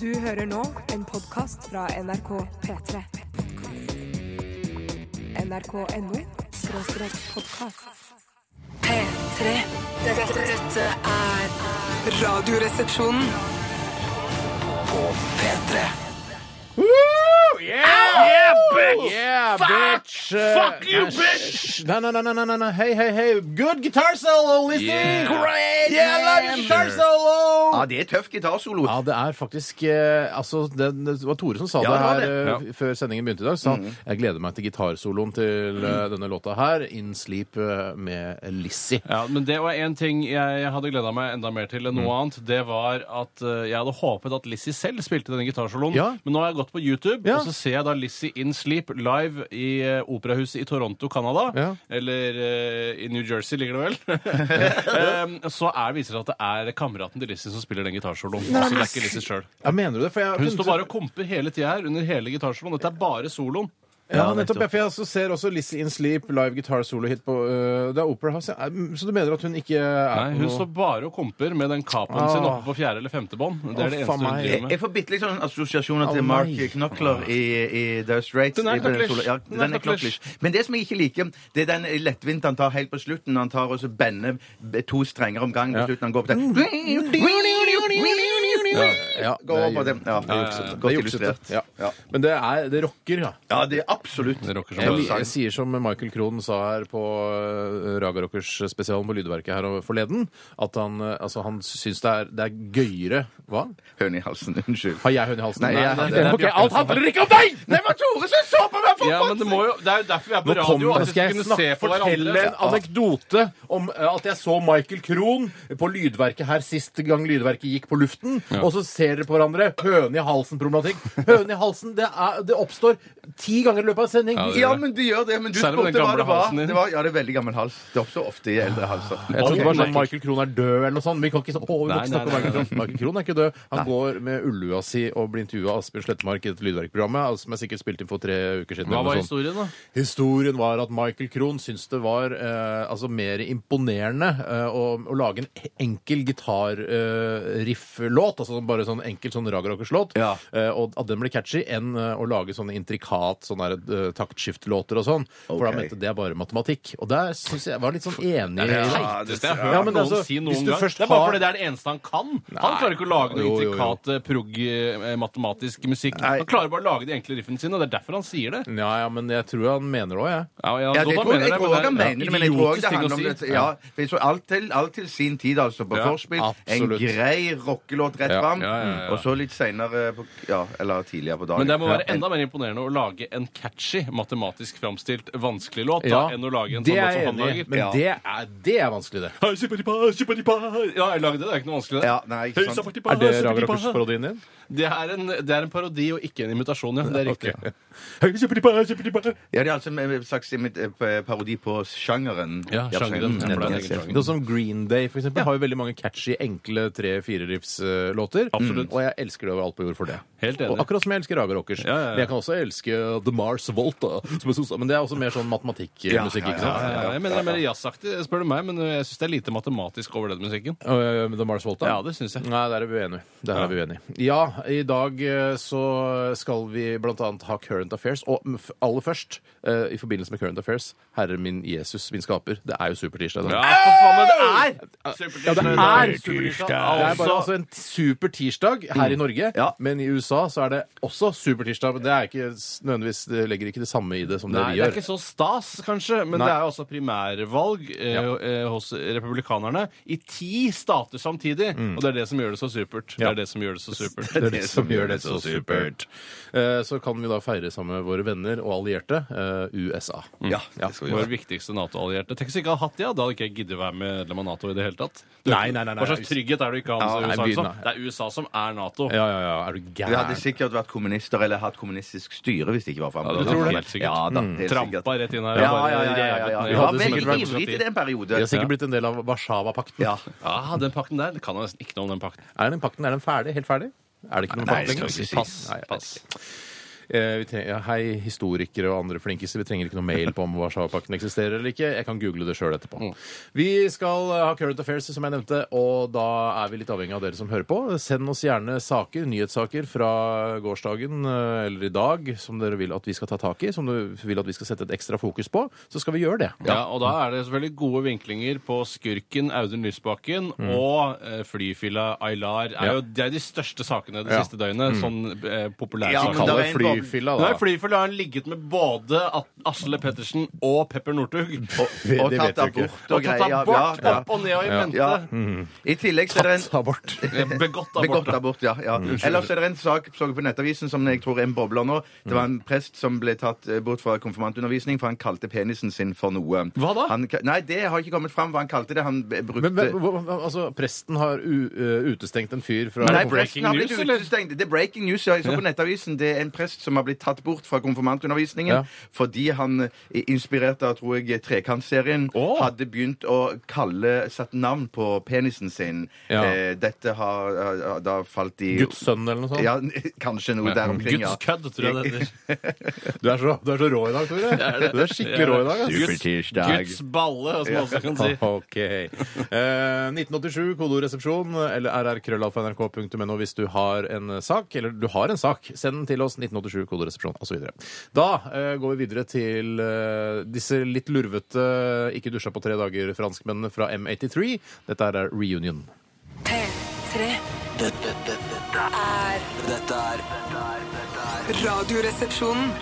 Du hører nå en podkast fra NRK P3. NRK.no skråstrek podkast. P3. Dette, dette er Radioresepsjonen. Yeah, bitch! Yeah, bitch! Fuck you, Nei, bitch! sh- Nei, nei, nei, nei, nei, nei. Hei, hei, hei. Good guitar solo, Lizzie! Yeah. Great! Yeah, I love your guitar solo! Ja, det er tøff gitarsolo. Ja, det er faktisk eh, Altså, det, det var Tore som sa Ja, det det var her det. eh, før sendingen begynte i dag. Sa jeg gleder meg til gitarsoloen til eh, denne låta her. In Sleep eh, med Lizzie. Ja, men det var en ting jeg hadde gleda meg enda mer til enn Mm. noe annet. Det var at eh, jeg hadde håpet at Lizzie selv spilte denne gitarsoloen. Ja. Men nå har jeg gått på YouTube, Ja. og så ser jeg da Lizzie in Sleep live i eh, operahuset i Toronto, Canada. Ja. Eller eh, i New Jersey, ligger det vel. Em, så er, viser det at det er kameraten til Lizzie som spiller den gitarsoloen. Altså, det er ikke Lizzie selv. Ja, mener du det? For jeg har Hun funnet står bare og komper hele tida her under hele gitarsoloen. Dette er bare soloen. Ja, nettopp. Jeg, for jeg også ser også Lizzie in Sleep live guitar solo hit på øh, Det er Opera House. ja. Mm, Så du mener at hun ikke er Nei, på hun noe- står bare og komper med den capen sin Ah. oppe på fjerde eller femte bånd. Det Å, er det faen eneste hun meg. driver Jeg, med. jeg får bitte litt sånn assosiasjoner til Å, Mark nei. Knokler i, i The Straits. Den er I den knocklish. solo- Ja, Den er den er knocklish. knocklish. Men det som jeg ikke liker, det er den lettvinte han tar helt på slutten. Han tar og så bender b- to strenger om gangen på slutten. Han går opp ja, der ja, Gå det er- over Eh, det. Ja, det er juksete. godt Det er juksete. illustrert. Ja. Ja. Men det, er, det rocker, ja. Ja, det er absolutt. Det rocker som Jeg, bare li- sang. jeg sier som Michael Krohn sa her på øh, Raga Rockers spesialen på Lydverket her og- forleden, at han, øh, altså, han syns det er, det er gøyere Hva? Høne i halsen. Unnskyld. Har jeg høne i halsen? Nei, jeg- det, det er ok, Bjarte alt som- handler ikke om deg! Det var Tore som så på meg! for Ja, faen! men det, må jo, det er jo derfor vi er på Nå kommer, radio. At vi nå altså, skal skal jeg kunne snakke, se på fortelle hverandre. en anekdote om eh, at jeg så Michael Krohn på Lydverket her sist gang Lydverket gikk på luften, og så ser dere på hverandre. Høne i halsen-problematikk. Høne i halsen, det, er, det oppstår ti ganger i løpet av en sending. Ja, det- Ja, men du gjør det. Men du Særlig med den spurte hva gamle det var. halsen din. Det var. Ja, det er veldig gammel hals. Det oppstår ofte i eldre halser. Jeg trodde Ok. det var sånn Michael Krohn er død eller noe sånt. men Vi kan ikke, så, å, vi må ikke Nei, nei, snakke om nei, Michael Krohn. Michael Krohn er ikke død. Han går med ullua si og blir intervjua av Asbjørn Slettmark i dette Lydverkprogrammet, altså, som jeg sikkert spilte inn for tre uker siden. Hva eller var noe sånt. historien, da? Historien var at Michael Krohn syntes det var eh, altså mer imponerende eh, å, å lage en enkel gitarriff-låt, altså bare sånn enkel sånn ragerockers-låt, Ja. eh, og at den ble catchy, enn eh, å lage sånne intrikat sånne der, eh, taktskiftlåter og sånn. For da Ok. mente det er bare matematikk. Og der syns jeg jeg var litt sånn enig. Ja, det- Teiteste jeg har hørt Ja, men noen altså, si hvis noen du gang. først Det er bare har- fordi det er det eneste han kan. Han klarer ikke å lage noe Jo, jo, jo. intrikat eh, prog-matematisk musikk. Nei. Han klarer bare å lage de enkle riffene sine, og det er derfor han sier det. Ja, ja, men jeg tror han mener det òg, jeg. Ja, ja, Ja, det Dodan tror jeg, jeg det, tror han det er mener det, men jeg tror også det idiotisk ting å handler om si. det. Ja, for jeg tror alt til, alt til sin tid, altså, på Ja, Forspill. En absolutt. grei rockelåt rett Ja, fram, Mm. ja, ja, ja. og så litt seinere, ja, eller tidligere på dagen. Men det må være Ja. enda mer imponerende å lage en catchy, matematisk framstilt vanskelig låt da, Ja, enn å lage en det sånn er låt som jeg han enig i, lager. men Ja. det, er, det er vanskelig, det. Hei, sippadipa, sippadipa. Ja, jeg lagde det. Det er ikke noe vanskelig, det. Ja, nei, ikke Hei, sant. sippadipa, Er det sippadipa. ragerockers-parodien din? Det er, en, det er en parodi og ikke en imitasjon, ja. Det er riktig. Ok. Hei, sippadipa, sippadipa. Ja, det er altså en slags imit- eh, parodi på sjangeren. Ja, sjangeren. Ja, for det er en egen sjanger. Noe som Green Day for eksempel, har jo veldig mange catchy, enkle tre-fireriffs-låter. Absolutt. eh, Og jeg elsker det over alt på jord for det. Helt enig. Og akkurat som jeg elsker Raga Rockers. Ja, ja, ja. Men jeg kan også elske The Mars Volta. Som jeg synes, men det er også mer sånn matematikkmusikk, Ja, ja, ikke sant? Ja, jeg mener det er mer jazzaktig, spør du meg, men eh, jeg syns det er lite matematisk over den musikken. Øh, The Mars Volta? Ja, det synes jeg. Nei, der er vi uenige. Der er vi uenige. Ja, i dag eh, så skal vi blant annet ha Current Affairs. Og mm, f- aller først, eh, i forbindelse med Current Affairs, Herre min Jesus, min skaper. Det er jo Supertirsdag. da. Ja, for faen, men det er! Det er bare altså en super tirsdag her i Norge, Ja. men i USA så er det også super tirsdag. Men det er ikke s- nødvendigvis det legger ikke det samme i det som det Nei, vi det er gjør. ikke så stas, kanskje, men Nei. det er jo også primærvalg eh, eh, hos republikanerne i ti stater samtidig. Og det er det som gjør det så supert. Det Mm. Ja. er det som gjør det så supert. det er det som gjør det så supert. Eh, Så kan vi da feire sammen med våre venner og allierte eh, USA. Ja, det skal vi Vår gjøre. viktigste Nato-allierte. Tenk hvis jeg ikke hadde hatt det, ja. da hadde ikke jeg giddet å være medlem av Nato i det hele tatt. Du, Nei, nei, nei, nei. Hva slags trygghet er det du ikke Ja, har med nei, USA? begynn, Liksom? Det er USA som er Nato. Ja, ja, ja. Er du Vi hadde gæren? sikkert vært kommunister eller hatt kommunistisk styre hvis det ikke var for Ja, andre. det tror jeg helt sikkert. Ja, da, helt sikkert. Trampa rett inn her. Ja, og bare ja, ja. ja, ja, revet ja. ned. Vi hadde var sikkert veldig vært ivrige til det en periode. Vi har sikkert blitt en del av Warszawa-pakten. Ja. Ah, den pakten der det kan jeg nesten ikke noe om den pakten. Er den pakten er den ferdig? Helt ferdig? Er det ikke noen Nei, pakt det skal lenger? vi ikke si. Pass. Nei, jeg vet Pass. ikke. eh, vi trenger, ja, Hei, historikere og andre flinkiser. Vi trenger ikke noe mail på om Warszawapakten eksisterer eller ikke. Jeg kan google det sjøl etterpå. Mm. Vi skal eh, ha Current Affairs, som jeg nevnte, og da er vi litt avhengig av dere som hører på. Send oss gjerne saker, nyhetssaker fra gårsdagen eh, eller i dag som dere vil at vi skal ta tak i, som du vil at vi skal sette et ekstra fokus på. Så skal vi gjøre det. Ja, og da er det selvfølgelig gode vinklinger på skurken Audun Lysbakken Mm. og eh, flyfilla Aylar. Er Ja. jo, det er de største sakene det Ja. siste døgnet. Sånn eh, populære Mm. Ja, Vi men da saker. kaller er det en boble. flyfilla, Nei, da. flyfilla har ligget med både At- Asle Pettersen og Pepper Northug. Det- Og det vet tatt vi ikke. abort og Og tatt greier. Ja, abort ja, opp og ned og i Ja. mente. ja. Mm. I tillegg så er det en Abort. Begått abort. Begått da. abort, ja. ja. Ellers er det en sak så jeg på Nettavisen som jeg tror er en bobler nå. Det var en prest som ble tatt eh, bort fra konfirmantundervisning, for han kalte penisen sin for noe. Hva da? Han, ka- nei, det har ikke kommet fram hva han kalte det. Han b- brukte Men, men hva- hva- altså, presten har u, eh, utestengt en fyr fra Nei, det presten breaking har blitt news, eller? utestengt. Det er breaking news. ja. Jeg så på Nettavisen. Det er en prest som har blitt tatt bort fra konfirmantundervisningen Ja. fordi han, eh, inspirert av, tror jeg, Trekantserien, Åh. hadde begynt å kalle Satt navn på penisen sin. Ja. Eh, dette har har- har da falt i Guds sønn eller noe sånt. Ja, kanskje noe der omkring, ja. Guds kødd, tror jeg det heter. Du, er så, du er så rå i dag, Tore. Du er skikkelig rå i dag. ass. Supertirsdag. Guds balle, som man også kan si. Ok. Eh, 1987, kodoresepsjon eller rrkrøllalfa.nrk.no hvis du har en sak. Eller du har en sak, send den til oss. 1987, kodoresepsjon osv. Da eh, går vi videre til eh, disse litt lurvete ikke dusja på tre dager-franskmennene fra M83. Dette er Reunion. P3 Dette, dette, dette, er dette er dette er- dette er Radioresepsjonen.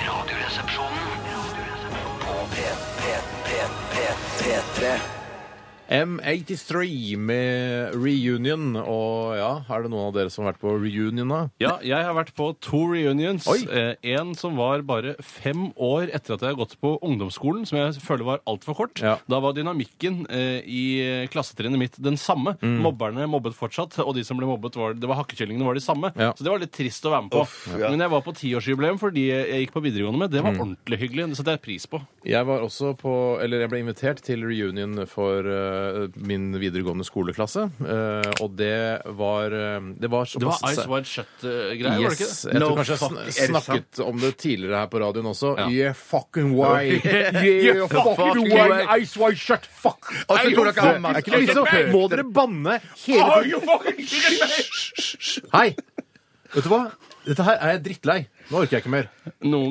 Radioresepsjonen på P, P, P, P, P3. M83 med Reunion. Og ja, er det noen av dere som har vært på reunion, da? Ja, jeg har vært på to reunions. Oi. Eh, en som var bare fem år etter at jeg har gått på ungdomsskolen, som jeg føler var altfor kort. Ja. Da var dynamikken eh, i klassetrinnet mitt den samme. Mobberne mobbet fortsatt, og de som ble mobbet, var, det var hakkekyllingene var de samme. Ja. Så det var litt trist å være med på. ja. Men jeg var på tiårsjubileum for de jeg gikk på videregående med. Det var ordentlig hyggelig. Det setter jeg pris på. Jeg var også på, eller jeg ble invitert til reunion for eh, min videregående skoleklasse. eh, og det var eh, Det var Det var såpass Ice Wide Shut-greier, var det ikke Yes. det? Jeg tror No kanskje fuck, er jeg det sn- snakket om det tidligere her på radioen også. Ja. Yeah, fucking why. Yeah, fucking fucking why. why. Ice Wide Shut, fuck! Og så Altså, Nei, tror dere hvorfor? han- Er ikke det liksom, Hysj, Må dere banne hele tiden? Hei! Vet du hva? Dette her er jeg drittlei. Nå orker jeg ikke mer. Noen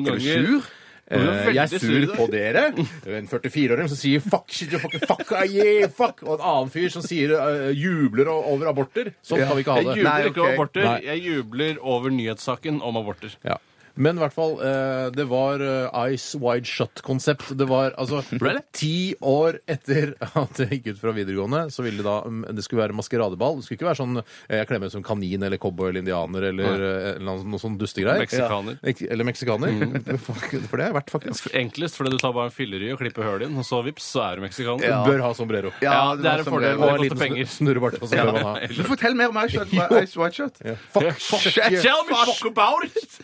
Er du ganger sur? Du Eh, er veldig Jeg er sur i sur dag. på dere. En 44-åring som sier 'fuck shit, you fucking fuck, ah, yeah, fuck', og en annen fyr som sier, eh, jubler o- over aborter. Sånn kan vi ikke Jeg ha det. jubler Nei, ikke over ok. aborter. Nei. Jeg jubler over nyhetssaken om aborter. Ja. Men i hvert fall, eh, det var eh, Eyes Wide Shut-konsept. Det var altså Ti år etter at jeg gikk ut fra videregående, så ville det da mm, Det skulle være maskeradeball. Det skulle ikke være sånn eh, jeg kler meg ut som kanin eller cowboy eller indianer eller, eh, eller noe, noe sånn dustegreier. Meksikaner. Mm. Ja. Ek- Eller meksikaner. For det har jeg vært, faktisk. Enklest fordi du tar bare en fillery og klipper høl i den, og så vips, så er du meksikaner. Ja. Bør ha sombrero. Ja, det er var en som fordel. det Og var. en koster penger. Snurrebart. og så bør man ha. Men Fortell mer om Ice White- Ice White Shot. Fuck, shut, you. Tell me fuck about it!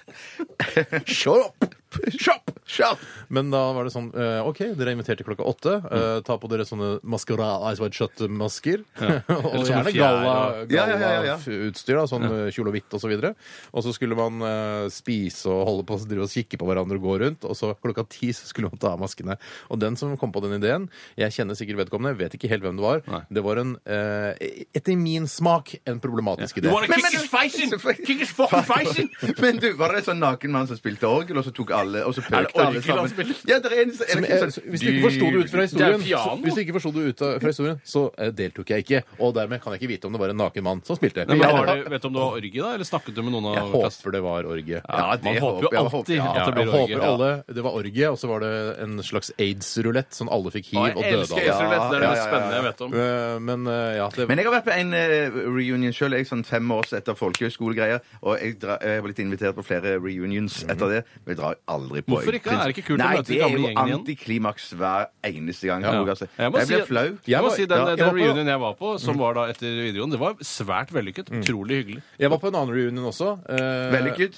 shut up! Shop! Men da var det sånn eh, OK, dere er invitert til klokka åtte. Mm. eh, ta på dere sånne mascara, Ice White Shut-masker. og Eller sånne gjerne fjær, galla- Ja, ja, ja, ja, ja. gallautstyr. da, Sånn eh, kjole og hvitt osv. Og, så og så skulle man eh, spise og holde på drive og kikke på hverandre og gå rundt. Og så klokka ti så skulle man ta av maskene. Og den som kom på den ideen Jeg kjenner sikkert vedkommende, vet ikke helt hvem det var. Nei. Det var en, eh, etter min smak, en problematisk idé. kick his face in? Kick his fucking face in! Men du, var det sånn naken mann som spilte orgel, og så tok alle Og så pøkte alle orgel han sammen? spiller? Ja, det er en, er det Som ikke er, sånn hvis du ikke forsto det ut fra historien, Det er så, piano. hvis du ikke forsto det ut av- fra historien, så eh, deltok jeg ikke. Og dermed kan jeg ikke vite om det var en naken mann som spilte. Men jeg, var det, vet du om det var orgie, da? Eller snakket du med noen av jeg håper det var orgie. Ja, det man håper håper jeg, jo jeg håper- alltid ja, at det jeg blir orgie. håper alle, Det var orgie, og så var det en slags aids-rulett. Sånn alle fikk Ja, hiv og jeg døde elsker av det. Israelett. Det er Ja, ja, det mest ja, spennende ja. jeg vet om. Eh, Men eh, ja, det Men jeg har vært på en eh, reunion sjøl, sånn fem år etter folkehøyskolegreier. Og jeg, dra, eh, jeg har blitt invitert på flere reunions Mhm. etter det. Men jeg drar aldri på. Hvorfor Jeg ikke? Er det ikke kult å Nei, møte de Det gamle er gjengene jo igjen? antiklimaks hver eneste gang. Ja. tror Jeg, altså. Jeg må jeg blir si- flau. Jeg må var- si den, ja, jeg den var på- reunionen jeg var på, som var da etter videoen, det var svært vellykket. Utrolig hyggelig. Jeg var på en annen reunion også. eh, Vellykket.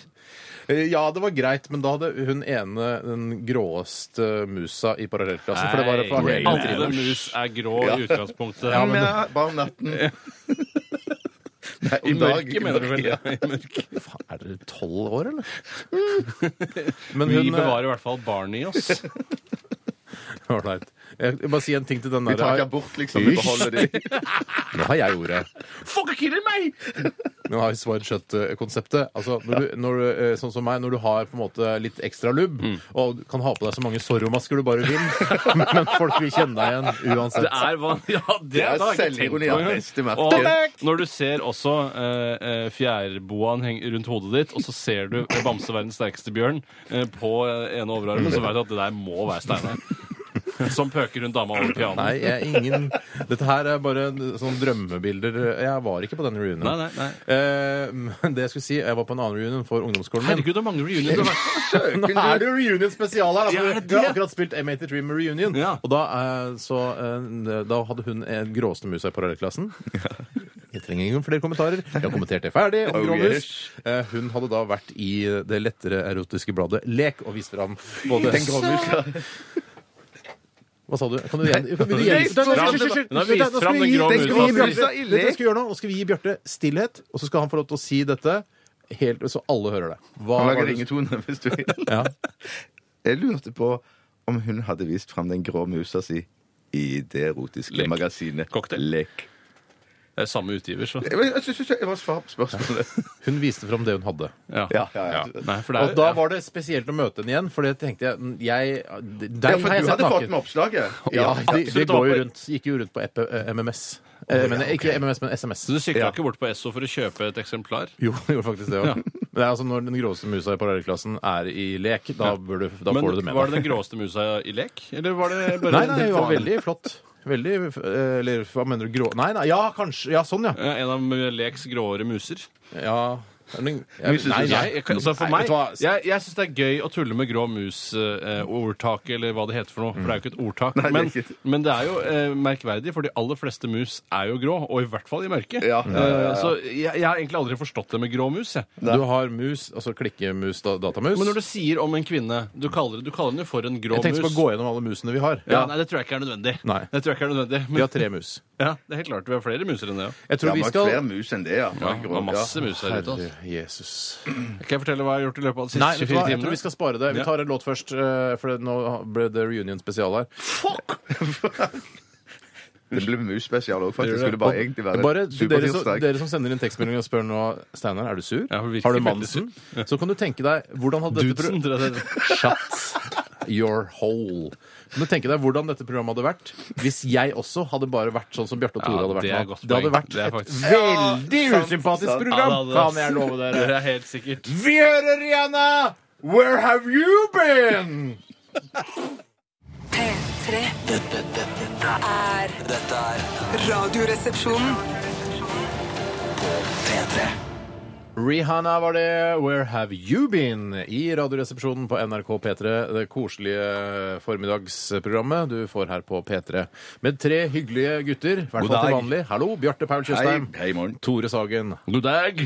eh, Ja, det var greit, men da hadde hun ene den gråeste musa i parallellklassen. For det var fra Nei, hele alle trinnet. mus er grå i utgangspunktet. Ja, men... bare om natten. Nei, om I mørket, dagen. mener du vel? Ja, i mørket. Faen, er dere tolv år, eller? Men eh, Vi hun bevarer i hvert fall barnet i oss. Ålreit. Jeg vil bare si en ting til den Vi tar der. ikke abort, liksom. Vi Hysj. beholder de. Nå har jeg ordet. Fuck, killing meg! Nå har vi Swide Shut-konseptet. Altså, når du, når du, eh, sånn som meg, når du har på en måte litt ekstra lubb, og du kan ha på deg så mange Zorro-masker du bare vil, men folk vil kjenne deg igjen uansett. Det er van- ja, det, er da har jeg ikke selvironi tenkt på av engang. beste merke. Og når du ser også eh, eh, fjærboaen heng rundt hodet ditt, og så ser du Bamse verdens sterkeste bjørn eh, på eh, ene overarmen, så vet du at det der må være Steinar. Som pøker rundt dama over Nei, pianoet. jeg er ingen Dette her er bare sånne drømmebilder. Jeg var ikke på den reunionen. Nei, nei, nei. Eh, men det jeg skulle si, jeg var på en annen reunion for ungdomsskolen min. Herregud, hvor mange reunions du har vært på! Nå er det jo reunion spesial her! Altså, Ja, er det vi har det? akkurat spilt M83 med reunion. Ja. Og da, eh, så, eh, da hadde hun en gråeste musa i parallellklassen. Jeg trenger ingen flere kommentarer. Jeg har kommentert det ferdig. om Oh, gråmus. Eh, Hun hadde da vært i det lettere erotiske bladet Lek og viste fram både Den gråmusa. Hva sa du? Kan du gjen... Vil du Nei, gjen... Nei, nei, fram- hysj, hysj, hysj. Nei, vis Da skal fram vi den gi- grå da skal vi gi musa. Bjarte- Ille. Vet du hva vi skal gjøre nå? Nå skal vi gi Bjarte stillhet, og så skal han få lov til å si dette helt så alle hører det. Hva Han var lager det- ringetone hvis du vil. Ja. Jeg lurte på om hun hadde vist fram den grå musa si i det erotiske Lek. magasinet Cocktail. Lek. Det er samme utgiver, så. Jeg, jeg, synes ikke- jeg var svar på spørsmålet. Hun viste fram det hun hadde. Ja. Ja, ja, ja. Nei, for det Og er, da var det spesielt å møte henne igjen, for det tenkte jeg, jeg Ja, Den for har jeg du sett hadde fått naken. med oppslaget. Ja, det de absolutt. går jo rundt. Gikk jo rundt på epe, eh, MMS. Eh, men, Ikke MMS, men SMS. Så du sikta Ja. ikke bort på Esso for å kjøpe et eksemplar? Jo, det gjorde faktisk det òg. Det er altså når den gråeste musa i parallellklassen er i lek, da, bør du, da Men får du det med Var deg. det den gråeste musa i lek? Eller var det bare Nei, nei, det var vanlig? veldig flott. Veldig eh, Eller hva mener du? Grå Nei, nei, ja, kanskje. Ja, sånn, ja. Ja, Eh, En av leks gråere muser? ja. er det- Men synes nei, du- nei. Jeg, jeg, altså for Nei, vet meg, du hva? jeg, jeg syns det er gøy å tulle med grå mus-ordtaket, eller hva det heter for noe. For det er jo ikke et ordtak. det er men, ikke et- men det er jo eh, merkverdig, for de aller fleste mus er jo grå. Og i hvert fall i mørket. Ja, ja, ja, ja. Eh, Så jeg, jeg har egentlig aldri forstått det med grå mus. Jeg. Du har mus, altså klikkemus, da, datamus. Men når du sier om en kvinne Du kaller, du kaller den jo for en grå jeg tenkte på mus. å gå gjennom alle musene vi har. Ja, nei, det tror jeg ikke er nødvendig. Nei. Det tror jeg ikke er nødvendig. Vi Men, har tre mus. ja, det er helt klart, Vi har flere muser enn det. Ja. Jeg tror Ja, vi det var skal flere mus enn det, ja. Ja, det var masse Ja. mus her ute. Altså. Herre Jesus. Kan jeg fortelle hva jeg har gjort i løpet av de Nei, siste vet du hva? 24 jeg tror vi timene? skal spare det. Vi Ja. tar en låt først, eh, for det- nå ble det reunion spesial her. Det ble musspesial òg, faktisk. Det Skulle gjør det. bare egentlig være Bare til dere, som, supertirsdag. dere som sender inn tekstmelding og spør nå Steinar, er du sur? Ja, for virkelig Har du veldig sur. Mansen? Så kan du tenke deg hvordan hadde dette pro- Dudesen, tror jeg det heter. Shut your hole. Kan du tenke deg hvordan dette programmet hadde vært hvis jeg også hadde bare vært sånn som Bjarte og Tore Ja, hadde vært det er nå? godt Det hadde poeng. vært Det er et faktisk- veldig Ja, sant, usympatisk sant. program, Ja, det hadde- kan jeg love Det dere. er helt sikkert. Vi hører igjen, da! Where have you been? P3 Dette, dette, dette, er er- dette er Radioresepsjonen. P3. Rihanna var det. Where have you been? I Radioresepsjonen på NRK P3. Det koselige formiddagsprogrammet du får her på P3. Med tre hyggelige gutter. I hvert God fall til dag. vanlig. Hallo, Bjarte Paul Tjøstheim. Hei, hei, morgen. Tore Sagen. God dag!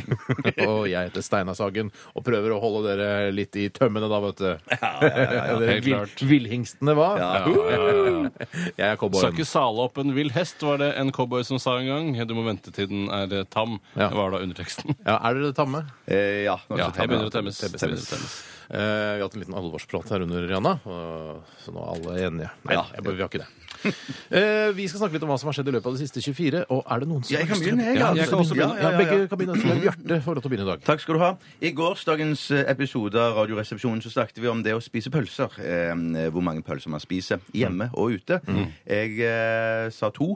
Og jeg heter Steinar Sagen. Og prøver å holde dere litt i tømmene, da, vet du. Dere Helt vil- klart. villhingstene, hva? Ja, Jeg er Skal cowboyen. ikke sale opp en vill hest, var det en cowboy som sa en gang. Du må vente til den er eh, tam, Ja. var da underteksten. Ja, er dere det tamme? Eh, ja, nå Ja, skal jeg ta med- begynner å temmes. Jeg begynner å temmes. Eh, vi har hatt en liten alvorsprat her under Rihanna, og- så nå er alle enige. Nei, Ja. jeg bare, vi har ikke det. Eh, vi skal snakke litt om hva som har skjedd i løpet av de siste 24, og er det noen som Ja, jeg kan har lyst til å- begynne, jeg, Ja, altså. jeg kan Ja, også ja, begynne. Ja, ja, begge ja. kan begynne. Så det er Bjarte får lov til å begynne i dag. Takk skal du ha. I gårsdagens eh, episode av Radioresepsjonen så snakket vi om det å spise pølser. Eh, hvor mange pølser man spiser hjemme og ute. Mm. Jeg eh, sa to.